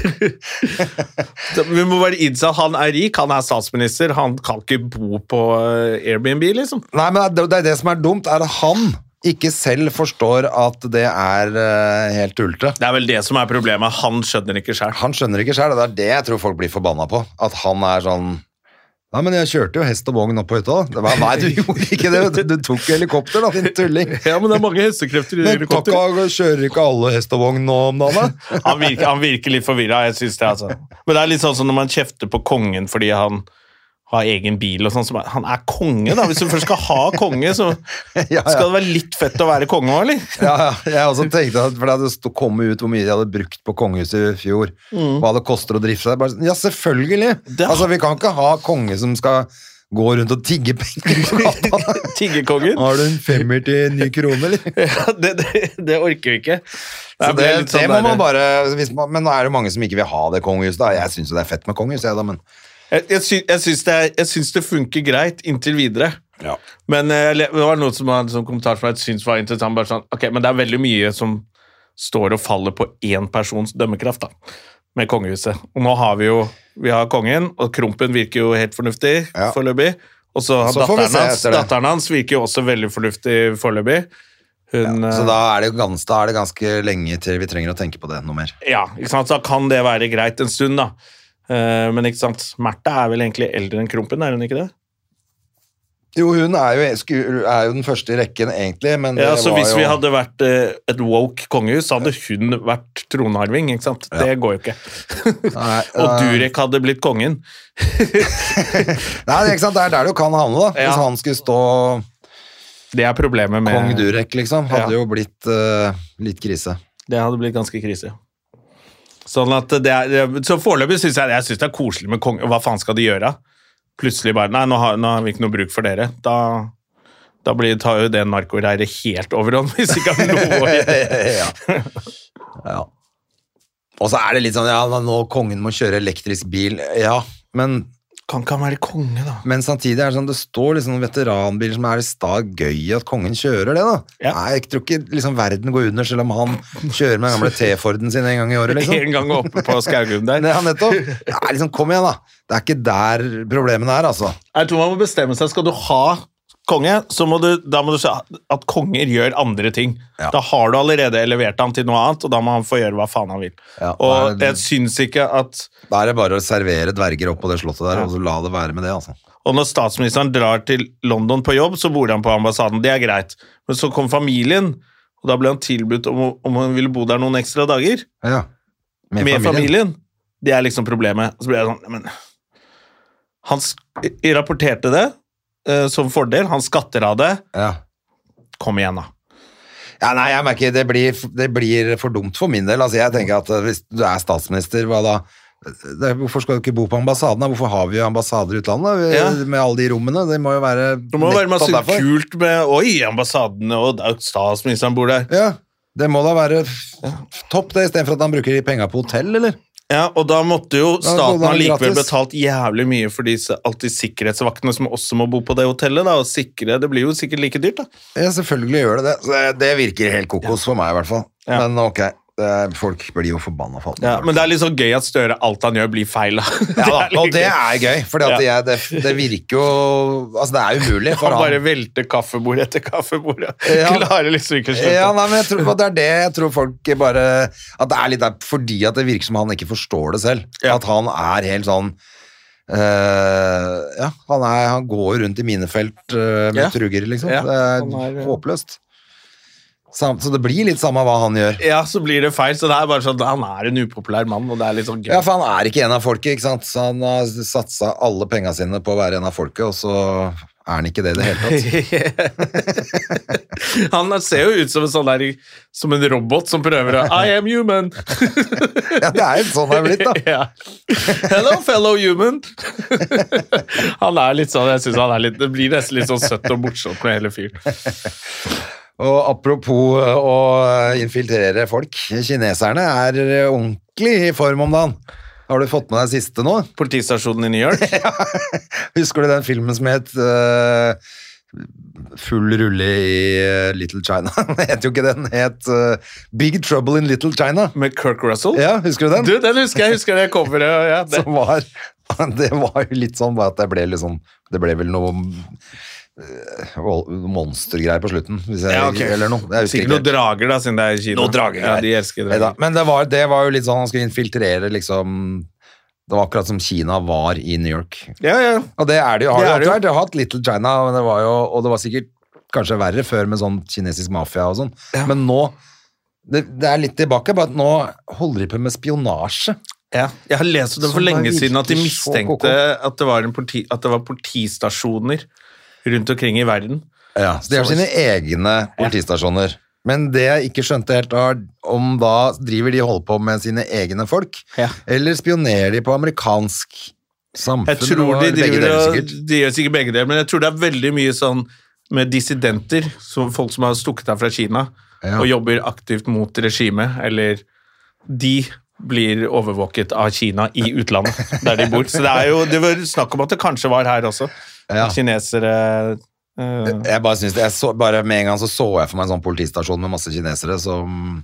[SPEAKER 1] Så Vi må bare innse at han er rik, han er statsminister, han kan ikke bo på eh, Airbnb, liksom.
[SPEAKER 2] Nei, men det, det er det som er dumt, er at han ikke selv forstår at det er eh, helt tullete.
[SPEAKER 1] Det er vel det som er problemet. Han skjønner ikke sjøl.
[SPEAKER 2] Han skjønner ikke sjøl, og det er det jeg tror folk blir forbanna på. At han er sånn Nei, men jeg kjørte jo hest og vogn opp på hytta. da." Det var, Nei, du gjorde ikke det. vet Du Du tok helikopter, da, din tulling.
[SPEAKER 1] Ja, men det er mange hestekrefter i
[SPEAKER 2] Men
[SPEAKER 1] helikopter.
[SPEAKER 2] takka, kjører ikke alle hest og vogn nå om dagen? da?
[SPEAKER 1] Han virker, han virker litt forvirra, jeg syns det, altså. Men det er litt sånn som når man kjefter på kongen fordi han har egen bil og sånn. så bare, Han er konge, da! Hvis du først skal ha konge, så
[SPEAKER 2] Ja, ja.
[SPEAKER 1] skal det være litt fett å være konge òg, eller?
[SPEAKER 2] Ja, ja, jeg også tenkte at for det hadde stå- kommet ut hvor mye de hadde brukt på kongehuset i fjor. Hva det koster å drifte det. Bare sånn, Ja, selvfølgelig!
[SPEAKER 1] Mm. Det-
[SPEAKER 2] Altså, Vi kan ikke ha konge som skal gå rundt og tigge penger på gata.
[SPEAKER 1] Tiggerkongen.
[SPEAKER 2] Har du en femmer til en ny krone, eller?
[SPEAKER 1] Ja, det, det, det orker vi ikke.
[SPEAKER 2] Så det,
[SPEAKER 1] Jeg ble litt sånn
[SPEAKER 2] det må
[SPEAKER 1] der-
[SPEAKER 2] man bare hvis man, Men nå er det mange som ikke vil ha det kongehuset. Da. Jeg syns jo det er fett med kongehus, jeg, da, men
[SPEAKER 1] Jeg, jeg, sy jeg, syns det er, jeg syns det funker greit inntil videre.
[SPEAKER 2] Ja.
[SPEAKER 1] Men eh, jeg le- det var noen som hadde en sånn kommentar som jeg syns var interessant. Bare sånn, ok, Men det er veldig mye som står og faller på én persons dømmekraft. da. med kongehuset. Og nå har vi jo vi har kongen, og Krompen virker jo helt fornuftig
[SPEAKER 2] Ja.
[SPEAKER 1] foreløpig. Og så har
[SPEAKER 2] Så får vi
[SPEAKER 1] datteren
[SPEAKER 2] se
[SPEAKER 1] hans,
[SPEAKER 2] etter det.
[SPEAKER 1] datteren hans virker jo også veldig fornuftig foreløpig. Hun
[SPEAKER 2] Så
[SPEAKER 1] eh,
[SPEAKER 2] da er, det jo gans, da er det ganske lenge til vi trenger å tenke på det noe mer.
[SPEAKER 1] Ja, ikke sant? Så da kan det være greit en stund, da. Eh, Men ikke sant, Märtha er vel egentlig eldre enn Krompen, er hun ikke det?
[SPEAKER 2] Jo, hun er jo, sku- er jo den første i rekken, egentlig, men det
[SPEAKER 1] Ja, så
[SPEAKER 2] var
[SPEAKER 1] Hvis
[SPEAKER 2] jo
[SPEAKER 1] vi hadde vært eh, et woke kongehus, så hadde hun vært tronarving. ikke sant? Det går jo ikke.
[SPEAKER 2] Nei,
[SPEAKER 1] Og
[SPEAKER 2] eh,
[SPEAKER 1] Durek hadde blitt kongen.
[SPEAKER 2] Nei, det er ikke sant, det er der du kan havne, da.
[SPEAKER 1] Ja.
[SPEAKER 2] Hvis han skulle stå
[SPEAKER 1] Det er problemet med
[SPEAKER 2] kong Durek, liksom, hadde
[SPEAKER 1] Ja.
[SPEAKER 2] jo blitt eh, litt krise.
[SPEAKER 1] Det hadde blitt ganske krise. Sånn at det er, så foreløpig syns jeg, jeg synes det er koselig med konge. Hva faen skal de gjøre? Plutselig bare Nei, nå har, nå har vi ikke noe bruk for dere. Da, da blir, tar jo det narkoreiret helt overhånd, hvis ikke har noe å gjøre.
[SPEAKER 2] ja. ja. Og så er det litt sånn Ja, nå kongen må kjøre elektrisk bil. Ja, men
[SPEAKER 1] Kan ikke han være konge, da?
[SPEAKER 2] Men samtidig er det sånn, det står liksom noen veteranbiler som er i stad gøy at kongen kjører det, da.
[SPEAKER 1] Ja.
[SPEAKER 2] Nei, jeg tror ikke liksom verden går under selv om han kjører med den gamle T-Forden sin en gang i året, liksom.
[SPEAKER 1] En gang oppe på Skaugum der.
[SPEAKER 2] Nei, ja, nettopp. Ja, liksom, kom igjen, da. Det er ikke der problemene er, altså.
[SPEAKER 1] Jeg tror man må bestemme seg. Skal du ha konge, så må du, da må du se at konger gjør andre ting.
[SPEAKER 2] Ja.
[SPEAKER 1] Da har du allerede elevert han til noe annet, og da må han få gjøre hva faen han vil.
[SPEAKER 2] Ja,
[SPEAKER 1] og
[SPEAKER 2] det er-
[SPEAKER 1] jeg syns ikke at
[SPEAKER 2] Da er det bare å servere dverger opp på det slottet der, og så la det være med det, altså.
[SPEAKER 1] Og når statsministeren drar til London på jobb, så bor han på ambassaden. Det er greit. Men så kom familien, og da ble han tilbudt om, å- om han ville bo der noen ekstra dager.
[SPEAKER 2] Ja.
[SPEAKER 1] Med, familien. Det er liksom problemet. Og så ble jeg sånn Men han sk- rapporterte det eh, som fordel. Han skatter av det.
[SPEAKER 2] Ja.
[SPEAKER 1] Kom igjen, da.
[SPEAKER 2] Ja, nei, jeg merker det blir, det blir for dumt for min del. Altså, jeg tenker at eh, hvis du er statsminister, hva da? Det, er- hvorfor skal du ikke bo på ambassaden? da? Hvorfor har vi ambassader i utlandet Vi-
[SPEAKER 1] Ja.
[SPEAKER 2] med alle de rommene? Det må jo være
[SPEAKER 1] Det må være masse
[SPEAKER 2] nettopp derfor.
[SPEAKER 1] kult med Oi, ambassadene og da- statsministeren bor der.
[SPEAKER 2] Ja, det må da være f- topp det, istedenfor at han bruker de penga på hotell, eller?
[SPEAKER 1] Ja, Og da måtte jo
[SPEAKER 2] Da- da
[SPEAKER 1] staten
[SPEAKER 2] var det
[SPEAKER 1] allikevel
[SPEAKER 2] gratis.
[SPEAKER 1] betalt jævlig mye for disse, alt de sikkerhetsvaktene som også må bo på det hotellet. da, og sikre, Det blir jo sikkert like dyrt, da.
[SPEAKER 2] Ja, selvfølgelig gjør det det. Så det- det virker helt kokos for meg, i hvert fall.
[SPEAKER 1] Ja.
[SPEAKER 2] Men ok, det er, folk blir jo forbanna for alt.
[SPEAKER 1] Ja, men det er litt sånn gøy at Støre alt han gjør, blir feil. da. Det
[SPEAKER 2] ja,
[SPEAKER 1] er
[SPEAKER 2] da, og
[SPEAKER 1] litt
[SPEAKER 2] det
[SPEAKER 1] gøy.
[SPEAKER 2] er gøy, for
[SPEAKER 1] Ja.
[SPEAKER 2] det, det virker jo Altså, det er umulig for
[SPEAKER 1] Han
[SPEAKER 2] han.
[SPEAKER 1] bare velter kaffebord etter kaffebord.
[SPEAKER 2] Ja.
[SPEAKER 1] Klarer liksom ikke å slutte.
[SPEAKER 2] Ja, nei, men jeg tror, og det er det jeg tror folk bare At det er litt der fordi at det virker som han ikke forstår det selv.
[SPEAKER 1] Ja.
[SPEAKER 2] At han er helt sånn eh, Ja, han, er, han går rundt i minefelt eh, med
[SPEAKER 1] Ja.
[SPEAKER 2] truger, liksom.
[SPEAKER 1] Ja,
[SPEAKER 2] Det er,
[SPEAKER 1] han er, eh,
[SPEAKER 2] håpløst. Sam, så det blir litt samme hva han gjør.
[SPEAKER 1] Ja, så blir det feil. Så det er bare sånn, han er en upopulær mann, og det er litt sånn gøy.
[SPEAKER 2] Ja, for han er ikke en av folket, ikke sant. Så han har satsa alle penga sine på å være en av folket, og så er han ikke det i det hele tatt.
[SPEAKER 1] han ser jo ut som en sånn der, som en robot som prøver å I am human!
[SPEAKER 2] Ja, det er jo sånn det er blitt, da.
[SPEAKER 1] Ja. Hello, fellow human! han er litt sånn, jeg synes han er litt, Det blir nesten litt sånn søtt og morsomt med hele fyren.
[SPEAKER 2] Og apropos eh, å infiltrere folk, kineserne er eh, ordentlig i form om dagen. Har du fått med deg siste nå?
[SPEAKER 1] Politistasjonen i New York.
[SPEAKER 2] Husker du den filmen som het eh, Full rulle i eh, Little China? Den het jo ikke det, den het eh, Big Trouble in Little China.
[SPEAKER 1] Med Kirk Russell?
[SPEAKER 2] Ja, husker du den? Sånn.
[SPEAKER 1] Du, den husker jeg. Husker det coveret. og Ja, det.
[SPEAKER 2] Som var, det var jo litt sånn bare at det ble litt sånn Det ble vel noe eh, monstergreier på slutten, hvis jeg,
[SPEAKER 1] Ja, ok.
[SPEAKER 2] eller noe. Jeg husker
[SPEAKER 1] Sikkert
[SPEAKER 2] ikke
[SPEAKER 1] noen drager, da, siden det er i Kina.
[SPEAKER 2] Noen drager,
[SPEAKER 1] ja,
[SPEAKER 2] nei.
[SPEAKER 1] de elsker
[SPEAKER 2] Neida,
[SPEAKER 1] drager.
[SPEAKER 2] Men det var, det var jo litt sånn han skulle infiltrere liksom Det var akkurat som Kina var i New York.
[SPEAKER 1] Ja, ja.
[SPEAKER 2] Og det er det jo. Har
[SPEAKER 1] Det
[SPEAKER 2] det
[SPEAKER 1] er det jo.
[SPEAKER 2] vært. Det har hatt Little China, men det var jo, og det var sikkert kanskje verre før med sånn kinesisk mafia og sånn. Men nå det, det er litt tilbake, bare at nå holder de på med spionasje.
[SPEAKER 1] Ja. Jeg har lest om det
[SPEAKER 2] Som
[SPEAKER 1] for
[SPEAKER 2] er
[SPEAKER 1] lenge siden at de
[SPEAKER 2] virkelig så
[SPEAKER 1] mistenkte at det, var en politi, at det var politistasjoner rundt omkring i verden.
[SPEAKER 2] Ja, så de har sine egne politistasjoner. Men det jeg ikke skjønte helt, var om da driver de og holder på med sine egne folk,
[SPEAKER 1] Ja.
[SPEAKER 2] eller spionerer de på amerikansk samfunn?
[SPEAKER 1] Jeg tror de
[SPEAKER 2] eller begge
[SPEAKER 1] driver
[SPEAKER 2] deler,
[SPEAKER 1] og
[SPEAKER 2] sikkert.
[SPEAKER 1] De gjør sikkert begge deler, men jeg tror det er veldig mye sånn med dissidenter, som folk som har stukket av fra Kina
[SPEAKER 2] Ja.
[SPEAKER 1] og jobber aktivt mot regimet, eller de blir overvåket av Kina i utlandet, der de bor. Så det er jo det var snakk om at det kanskje var her også.
[SPEAKER 2] Ja.
[SPEAKER 1] Kinesere eh,
[SPEAKER 2] Jeg bare synes det, jeg så, bare med en gang så så jeg for meg en sånn politistasjon med masse kinesere som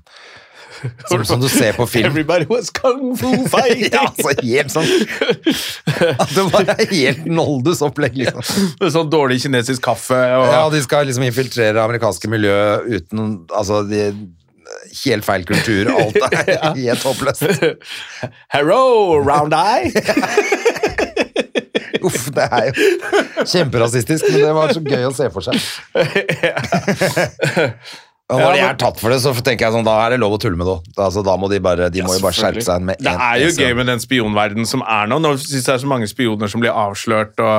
[SPEAKER 2] Som, som du ser på film.
[SPEAKER 1] Everybody was kung fu fighting!
[SPEAKER 2] Ja, så helt sånn At det var helt noldus opplegg, liksom.
[SPEAKER 1] Med sånn dårlig kinesisk kaffe og
[SPEAKER 2] Ja, de skal liksom infiltrere det amerikanske miljøet uten Altså, de, helt feil kultur, alt er helt håpløst.
[SPEAKER 1] Hello, round eye!
[SPEAKER 2] Uff, det er jo kjemperasistisk, men det var så gøy å se for seg. Og når de er tatt for det, så tenker jeg sånn, da er det lov å tulle med det òg. Altså, da må de bare, de må jo bare skjerpe seg med
[SPEAKER 1] Det
[SPEAKER 2] en-
[SPEAKER 1] er jo
[SPEAKER 2] en-
[SPEAKER 1] gøy med den spionverdenen som er nå. Nå synes jeg det er så mange spioner som blir avslørt og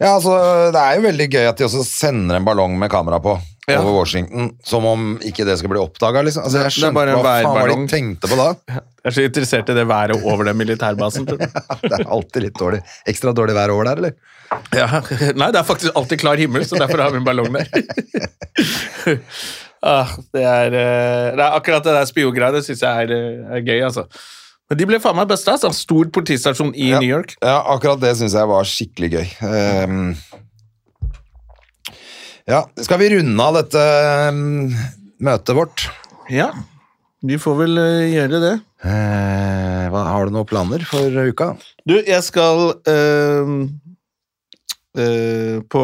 [SPEAKER 2] Ja, altså, det er jo veldig gøy at de også sender en ballong med kamera på
[SPEAKER 1] Ja.
[SPEAKER 2] over Washington, som om ikke det skal bli oppdaga, liksom. Altså, jeg
[SPEAKER 1] Det er
[SPEAKER 2] skjønte
[SPEAKER 1] bare en
[SPEAKER 2] hva faen var
[SPEAKER 1] værballong.
[SPEAKER 2] de tenkte på da.
[SPEAKER 1] Jeg er så interessert i det været over den militærbasen. tror jeg.
[SPEAKER 2] Det er alltid litt dårlig. Ekstra dårlig vær over der, eller?
[SPEAKER 1] Ja. Nei, det er faktisk alltid klar himmel, så derfor har vi en ballong der. ah, det, er, eh, det er akkurat det der spiongreia. Det syns jeg er, eh, er gøy, altså. Men de ble faen meg busta. Altså. Stor politistasjon i New York.
[SPEAKER 2] Ja, akkurat det syns jeg var skikkelig gøy. Ehm, ja, skal vi runde av dette ehm, møtet vårt?
[SPEAKER 1] Ja, de får vel eh, gjøre det.
[SPEAKER 2] Eh, hva, har du noen planer for uka?
[SPEAKER 1] Du, jeg skal eh, eh, på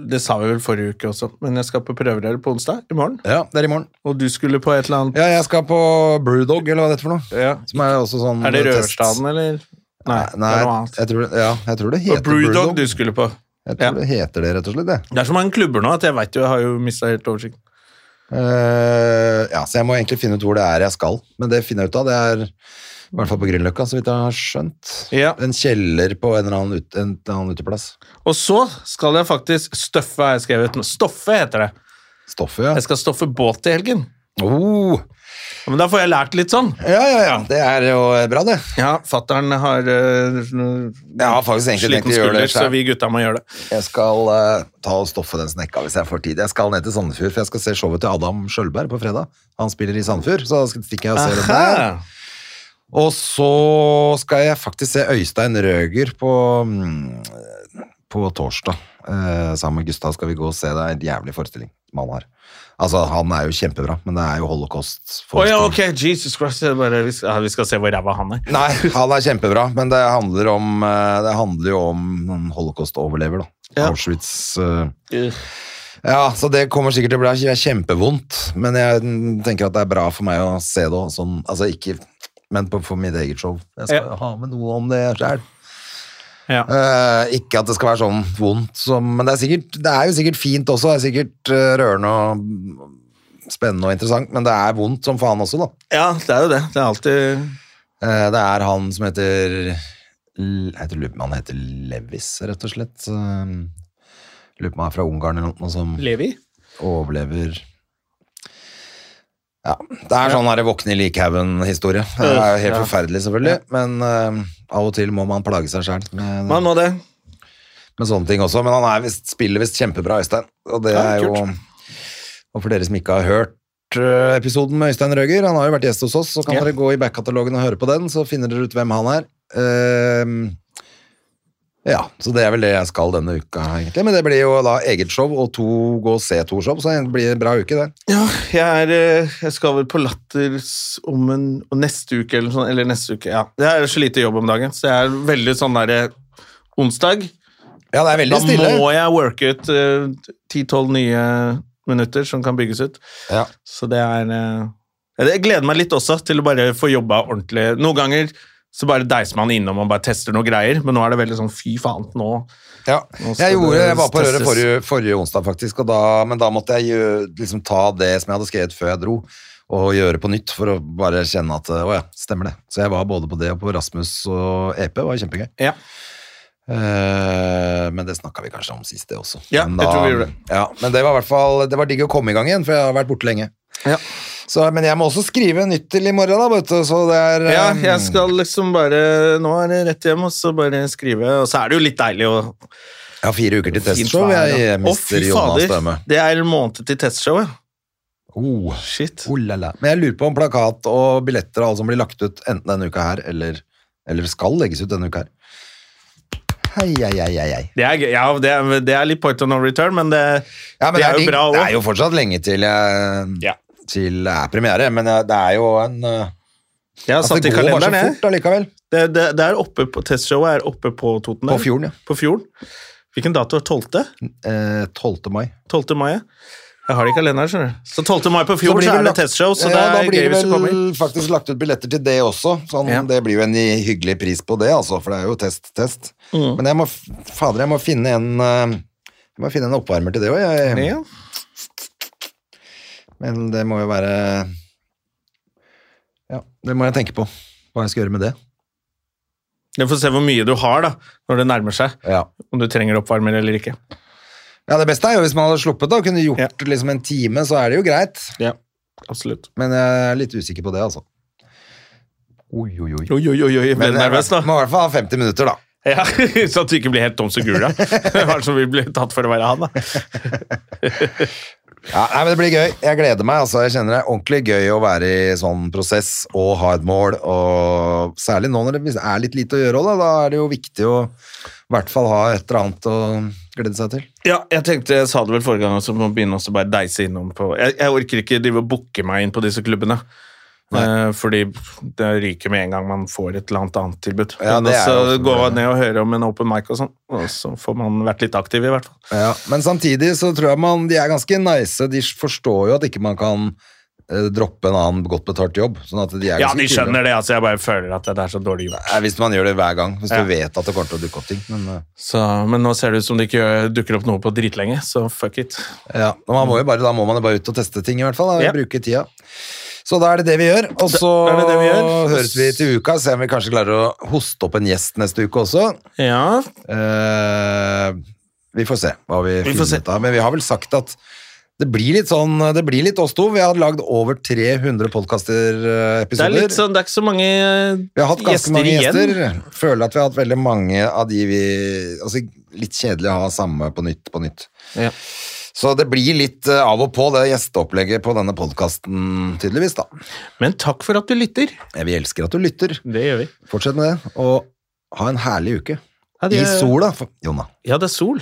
[SPEAKER 1] Det sa vi vel forrige uke også, men jeg skal på prøverøre på onsdag i morgen.
[SPEAKER 2] Ja, det er i morgen.
[SPEAKER 1] Og du skulle på et eller annet
[SPEAKER 2] Ja, jeg skal på Brewdog, eller hva det heter for noe.
[SPEAKER 1] ja.
[SPEAKER 2] Som er også sånn
[SPEAKER 1] Er det
[SPEAKER 2] test.
[SPEAKER 1] Rørstaden, eller? Nei,
[SPEAKER 2] Nei,
[SPEAKER 1] det er noe annet.
[SPEAKER 2] jeg tror, det- ja, jeg tror det heter
[SPEAKER 1] Og Brewdog
[SPEAKER 2] Brewdog.
[SPEAKER 1] du skulle på.
[SPEAKER 2] Jeg tror
[SPEAKER 1] Ja.
[SPEAKER 2] det heter det, rett og slett. Det.
[SPEAKER 1] Det er så mange klubber nå at jeg vet jo, jeg har jo mista helt oversikten.
[SPEAKER 2] Eh, ja, så jeg må egentlig finne ut hvor det er jeg skal. Men det finner jeg ut av. Det er i hvert fall på Grünerløkka, så vidt jeg har skjønt.
[SPEAKER 1] Ja.
[SPEAKER 2] En kjeller på en eller annen, ut, en, eller annen uteplass.
[SPEAKER 1] Og så skal jeg faktisk Støffe har jeg skrevet. nå. Stoffe heter det.
[SPEAKER 2] Stoffet, ja.
[SPEAKER 1] Jeg skal stoffe båt i helgen.
[SPEAKER 2] Oh,
[SPEAKER 1] Men da får jeg lært litt sånn.
[SPEAKER 2] ja, ja, ja. Det er jo bra, det.
[SPEAKER 1] Ja, fattern har eh, sånn-
[SPEAKER 2] Jeg har faktisk egentlig
[SPEAKER 1] sliten
[SPEAKER 2] tenkt å gjøre
[SPEAKER 1] skulder,
[SPEAKER 2] det
[SPEAKER 1] så
[SPEAKER 2] selv.
[SPEAKER 1] vi gutta må gjøre det.
[SPEAKER 2] Jeg skal eh, ta og stoffe den snekka hvis jeg får tid. Jeg skal ned til Sandefjord, for jeg skal se showet til Adam Skjølberg på fredag. Han spiller i Sandefjord, så da stikker jeg og ser det der.
[SPEAKER 1] Aha.
[SPEAKER 2] Og så skal jeg faktisk se Øystein Røger på, mm, på torsdag. Eh, sammen med Gustav skal vi gå og se. Det er en jævlig forestilling som han har. Altså, han er jo kjempebra, men det er jo
[SPEAKER 1] Å ja,
[SPEAKER 2] holocaust-forestilling.
[SPEAKER 1] ok, Jesus Christ. jeg Bare, vi, skal, ja, vi skal se hvor ræva han er.
[SPEAKER 2] Nei, han er kjempebra, men det handler, om, eh, det handler jo om noen holocaust-overlever, da.
[SPEAKER 1] Ja.
[SPEAKER 2] Auschwitz eh. Ja, så det kommer sikkert til å bli kjempevondt, men jeg mm, tenker at det er bra for meg å se det også, sånn, altså ikke, men på, for mitt eget show. Jeg skal
[SPEAKER 1] Ja.
[SPEAKER 2] ha med noe om det selv.
[SPEAKER 1] Ja.
[SPEAKER 2] Eh, ikke at det skal være sånn vondt, som, men det er, sikkert, det er jo sikkert fint også, det er sikkert eh, rørende og mm, spennende og interessant, men det er vondt som faen også da.
[SPEAKER 1] ja, det er jo det. Det er alltid
[SPEAKER 2] Eh, det er han som heter, L- jeg tror lurer på om han heter Levis, rett og slett. Uh, lurer på om han er fra Ungarn eller noe som...
[SPEAKER 1] Levi.
[SPEAKER 2] overlever Ja, det er sånn her våkne i likhaugen-historie. Det er jo helt
[SPEAKER 1] Ja.
[SPEAKER 2] forferdelig, selvfølgelig, men eh, av og til må man plage seg sjæl med,
[SPEAKER 1] Man må det.
[SPEAKER 2] med sånne ting også. Men han er visst, spiller visst kjempebra, Øystein, og det
[SPEAKER 1] Ja,
[SPEAKER 2] er jo
[SPEAKER 1] kult.
[SPEAKER 2] Og for dere som ikke har hørt eh, episoden med Øystein Røger, han har jo vært gjest hos oss, så kan
[SPEAKER 1] Ja.
[SPEAKER 2] dere gå i backkatalogen og høre på den, så finner dere ut hvem han er. Eh, ja, så det er vel det jeg skal denne uka, egentlig. Men det blir jo da eget show og to gå og se to show, så det blir en bra uke, det.
[SPEAKER 1] Ja, jeg, er, eh, jeg skal vel på Latters om en og neste uke eller sånn. Eller neste uke, ja. Det er så lite jobb om dagen, så jeg er veldig sånn derre Onsdag,
[SPEAKER 2] Ja, det er
[SPEAKER 1] da
[SPEAKER 2] veldig stille.
[SPEAKER 1] må jeg worke ut eh, 10-12 nye minutter som kan bygges ut.
[SPEAKER 2] Ja.
[SPEAKER 1] Så det er eh, Jeg gleder meg litt også til å bare få jobba ordentlig. Noen ganger så bare deiser man innom og bare tester noen greier, men nå er det veldig sånn fy faen, nå
[SPEAKER 2] Ja.
[SPEAKER 1] Nå skal
[SPEAKER 2] Jeg, gjorde,
[SPEAKER 1] det
[SPEAKER 2] jeg var på røret
[SPEAKER 1] testes.
[SPEAKER 2] forrige, forrige onsdag, faktisk, og da, men da måtte jeg gjø, liksom ta det som jeg hadde skrevet før jeg dro, og gjøre på nytt for å bare kjenne at å ja, stemmer det. Så jeg var både på det og på Rasmus og EP, var kjempegøy.
[SPEAKER 1] Ja.
[SPEAKER 2] Eh, men det snakka vi kanskje om sist, det også.
[SPEAKER 1] Ja,
[SPEAKER 2] men
[SPEAKER 1] jeg tror vi gjorde det.
[SPEAKER 2] Ja, men det var i hvert fall Det var digg å komme i gang igjen, for jeg har vært borte lenge.
[SPEAKER 1] Ja.
[SPEAKER 2] Så, men jeg må også skrive nytt til i morgen, da, vet du, så det er
[SPEAKER 1] Ja,
[SPEAKER 2] eh,
[SPEAKER 1] jeg skal liksom bare Nå er det rett hjem, og så bare skrive. Og så er det jo litt deilig å
[SPEAKER 2] Jeg har fire uker til
[SPEAKER 1] fint
[SPEAKER 2] testshow,
[SPEAKER 1] vær,
[SPEAKER 2] jeg,
[SPEAKER 1] da. Å,
[SPEAKER 2] mister
[SPEAKER 1] fy
[SPEAKER 2] Jonas
[SPEAKER 1] fader,
[SPEAKER 2] Døme.
[SPEAKER 1] Det er en måned til testshowet.
[SPEAKER 2] Oh.
[SPEAKER 1] Shit.
[SPEAKER 2] Oh la la. Men jeg lurer på om plakat og billetter og alt som blir lagt ut enten denne uka her, eller, eller skal legges ut denne uka her. Hei, hei, hei, hei, hei.
[SPEAKER 1] Det er, gøy. ja, det er, det er litt point of no return, men det,
[SPEAKER 2] Ja, men
[SPEAKER 1] det er jo
[SPEAKER 2] digg.
[SPEAKER 1] bra
[SPEAKER 2] Det
[SPEAKER 1] òg.
[SPEAKER 2] er jo fortsatt lenge til jeg
[SPEAKER 1] Ja.
[SPEAKER 2] til det er premiere, men eh, det er jo en eh,
[SPEAKER 1] Jeg har
[SPEAKER 2] altså,
[SPEAKER 1] satt
[SPEAKER 2] Det
[SPEAKER 1] i
[SPEAKER 2] går bare så
[SPEAKER 1] kalenderen, jeg.
[SPEAKER 2] fort allikevel.
[SPEAKER 1] Det, det, det er oppe på, testshowet er oppe på Toten.
[SPEAKER 2] På
[SPEAKER 1] eller?
[SPEAKER 2] fjorden, ja.
[SPEAKER 1] På fjorden. Hvilken dato er 12.?
[SPEAKER 2] Eh, 12. mai.
[SPEAKER 1] 12. mai. ja. Jeg har det i kalenderen, skjønner du. Så 12. mai på fjorden så
[SPEAKER 2] blir
[SPEAKER 1] er det
[SPEAKER 2] lagt-
[SPEAKER 1] testshow, så
[SPEAKER 2] ja,
[SPEAKER 1] det
[SPEAKER 2] da
[SPEAKER 1] er
[SPEAKER 2] blir
[SPEAKER 1] gøy
[SPEAKER 2] det
[SPEAKER 1] hvis du kommer.
[SPEAKER 2] vel faktisk lagt ut billetter til det også. Sånn,
[SPEAKER 1] Ja.
[SPEAKER 2] Det blir jo en i- hyggelig pris på det, altså, for det er jo test, test.
[SPEAKER 1] Mm.
[SPEAKER 2] Men jeg må, f- fader, jeg må finne en eh, jeg må finne en oppvarmer til det òg, jeg.
[SPEAKER 1] Ja.
[SPEAKER 2] Men det må jo være Ja, det må jeg tenke på. Hva jeg skal gjøre med det.
[SPEAKER 1] Du får se hvor mye du har da, når det nærmer seg.
[SPEAKER 2] Ja.
[SPEAKER 1] Om du trenger oppvarmer eller ikke.
[SPEAKER 2] Ja, Det beste er jo hvis man hadde sluppet da, og kunne gjort
[SPEAKER 1] Ja.
[SPEAKER 2] liksom en time, så er det jo greit.
[SPEAKER 1] Ja, absolutt.
[SPEAKER 2] Men jeg er litt usikker på det, altså. Oi, oi, oi.
[SPEAKER 1] Oi, oi, oi, oi. Ble
[SPEAKER 2] Men eh,
[SPEAKER 1] du nervøs, da?
[SPEAKER 2] Må i hvert fall ha 50 minutter, da.
[SPEAKER 1] Ja, Så at du ikke blir helt tom som gula. Hva er det som vil bli tatt for å være han, da?
[SPEAKER 2] Ja, nei, men Det blir gøy. Jeg gleder meg. altså. Jeg kjenner det er ordentlig gøy å være i sånn prosess og ha et mål. og Særlig nå når det er litt lite å gjøre. også, Da, da er det jo viktig å i hvert fall ha et eller annet å glede seg til.
[SPEAKER 1] Ja, jeg tenkte, jeg sa det vel forrige gang også, må begynne også bare deise innom på Jeg, jeg orker ikke drive og booke meg inn på disse klubbene. Eh, fordi det ryker med en gang man får et eller annet annet tilbud.
[SPEAKER 2] Ja,
[SPEAKER 1] Men
[SPEAKER 2] det er
[SPEAKER 1] så
[SPEAKER 2] jo-
[SPEAKER 1] går man ned og hører om en open mic og sånn, og så får man vært litt aktiv, i hvert fall.
[SPEAKER 2] Ja, Men samtidig så tror jeg man, de er ganske nice. De forstår jo at ikke man kan eh, droppe en annen godt betalt jobb. sånn at de er
[SPEAKER 1] Ja,
[SPEAKER 2] ganske
[SPEAKER 1] de
[SPEAKER 2] kule.
[SPEAKER 1] skjønner det, altså. Jeg bare føler at det er så dårlig gjort.
[SPEAKER 2] Nei, Hvis man gjør det hver gang. Hvis
[SPEAKER 1] Ja.
[SPEAKER 2] du vet at det kommer til å dukke opp ting. Men, eh,
[SPEAKER 1] Så, men nå ser det ut som det ikke gjør- dukker opp noe på dritlenge, så fuck it.
[SPEAKER 2] Ja, men man må jo bare, Da må man jo bare ut og teste ting, i hvert fall. Da,
[SPEAKER 1] Ja.
[SPEAKER 2] Bruke tida. Så da er det det vi gjør. Og så
[SPEAKER 1] Da er det det vi gjør.
[SPEAKER 2] høres vi til uka, se om vi kanskje klarer å hoste opp en gjest neste uke også.
[SPEAKER 1] Ja,
[SPEAKER 2] Eh, vi får se hva vi,
[SPEAKER 1] Vi får se.
[SPEAKER 2] finner ut av. Men vi har vel sagt at det blir litt sånn, det blir litt oss to. Vi har lagd over 300
[SPEAKER 1] det er
[SPEAKER 2] podkaster-episoder.
[SPEAKER 1] litt sånn, det er ikke så mange
[SPEAKER 2] eh,
[SPEAKER 1] eh,
[SPEAKER 2] Vi har hatt ganske
[SPEAKER 1] gjester
[SPEAKER 2] mange
[SPEAKER 1] igjen.
[SPEAKER 2] gjester. Føler at vi har hatt veldig mange av de vi Altså, litt kjedelig å ha samme på nytt på nytt.
[SPEAKER 1] Ja.
[SPEAKER 2] Så det blir litt eh, av og på det gjesteopplegget på denne podkasten, tydeligvis, da.
[SPEAKER 1] Men takk for at du lytter.
[SPEAKER 2] Eh, Vi elsker at du lytter.
[SPEAKER 1] Det gjør vi.
[SPEAKER 2] Fortsett med det, og ha en herlig uke.
[SPEAKER 1] Ja, det-
[SPEAKER 2] I sola, for- Jonna.
[SPEAKER 1] Ja, det er sol.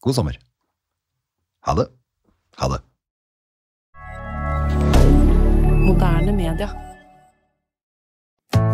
[SPEAKER 2] God sommer. Ha det. Ha det.
[SPEAKER 3] Moderne media.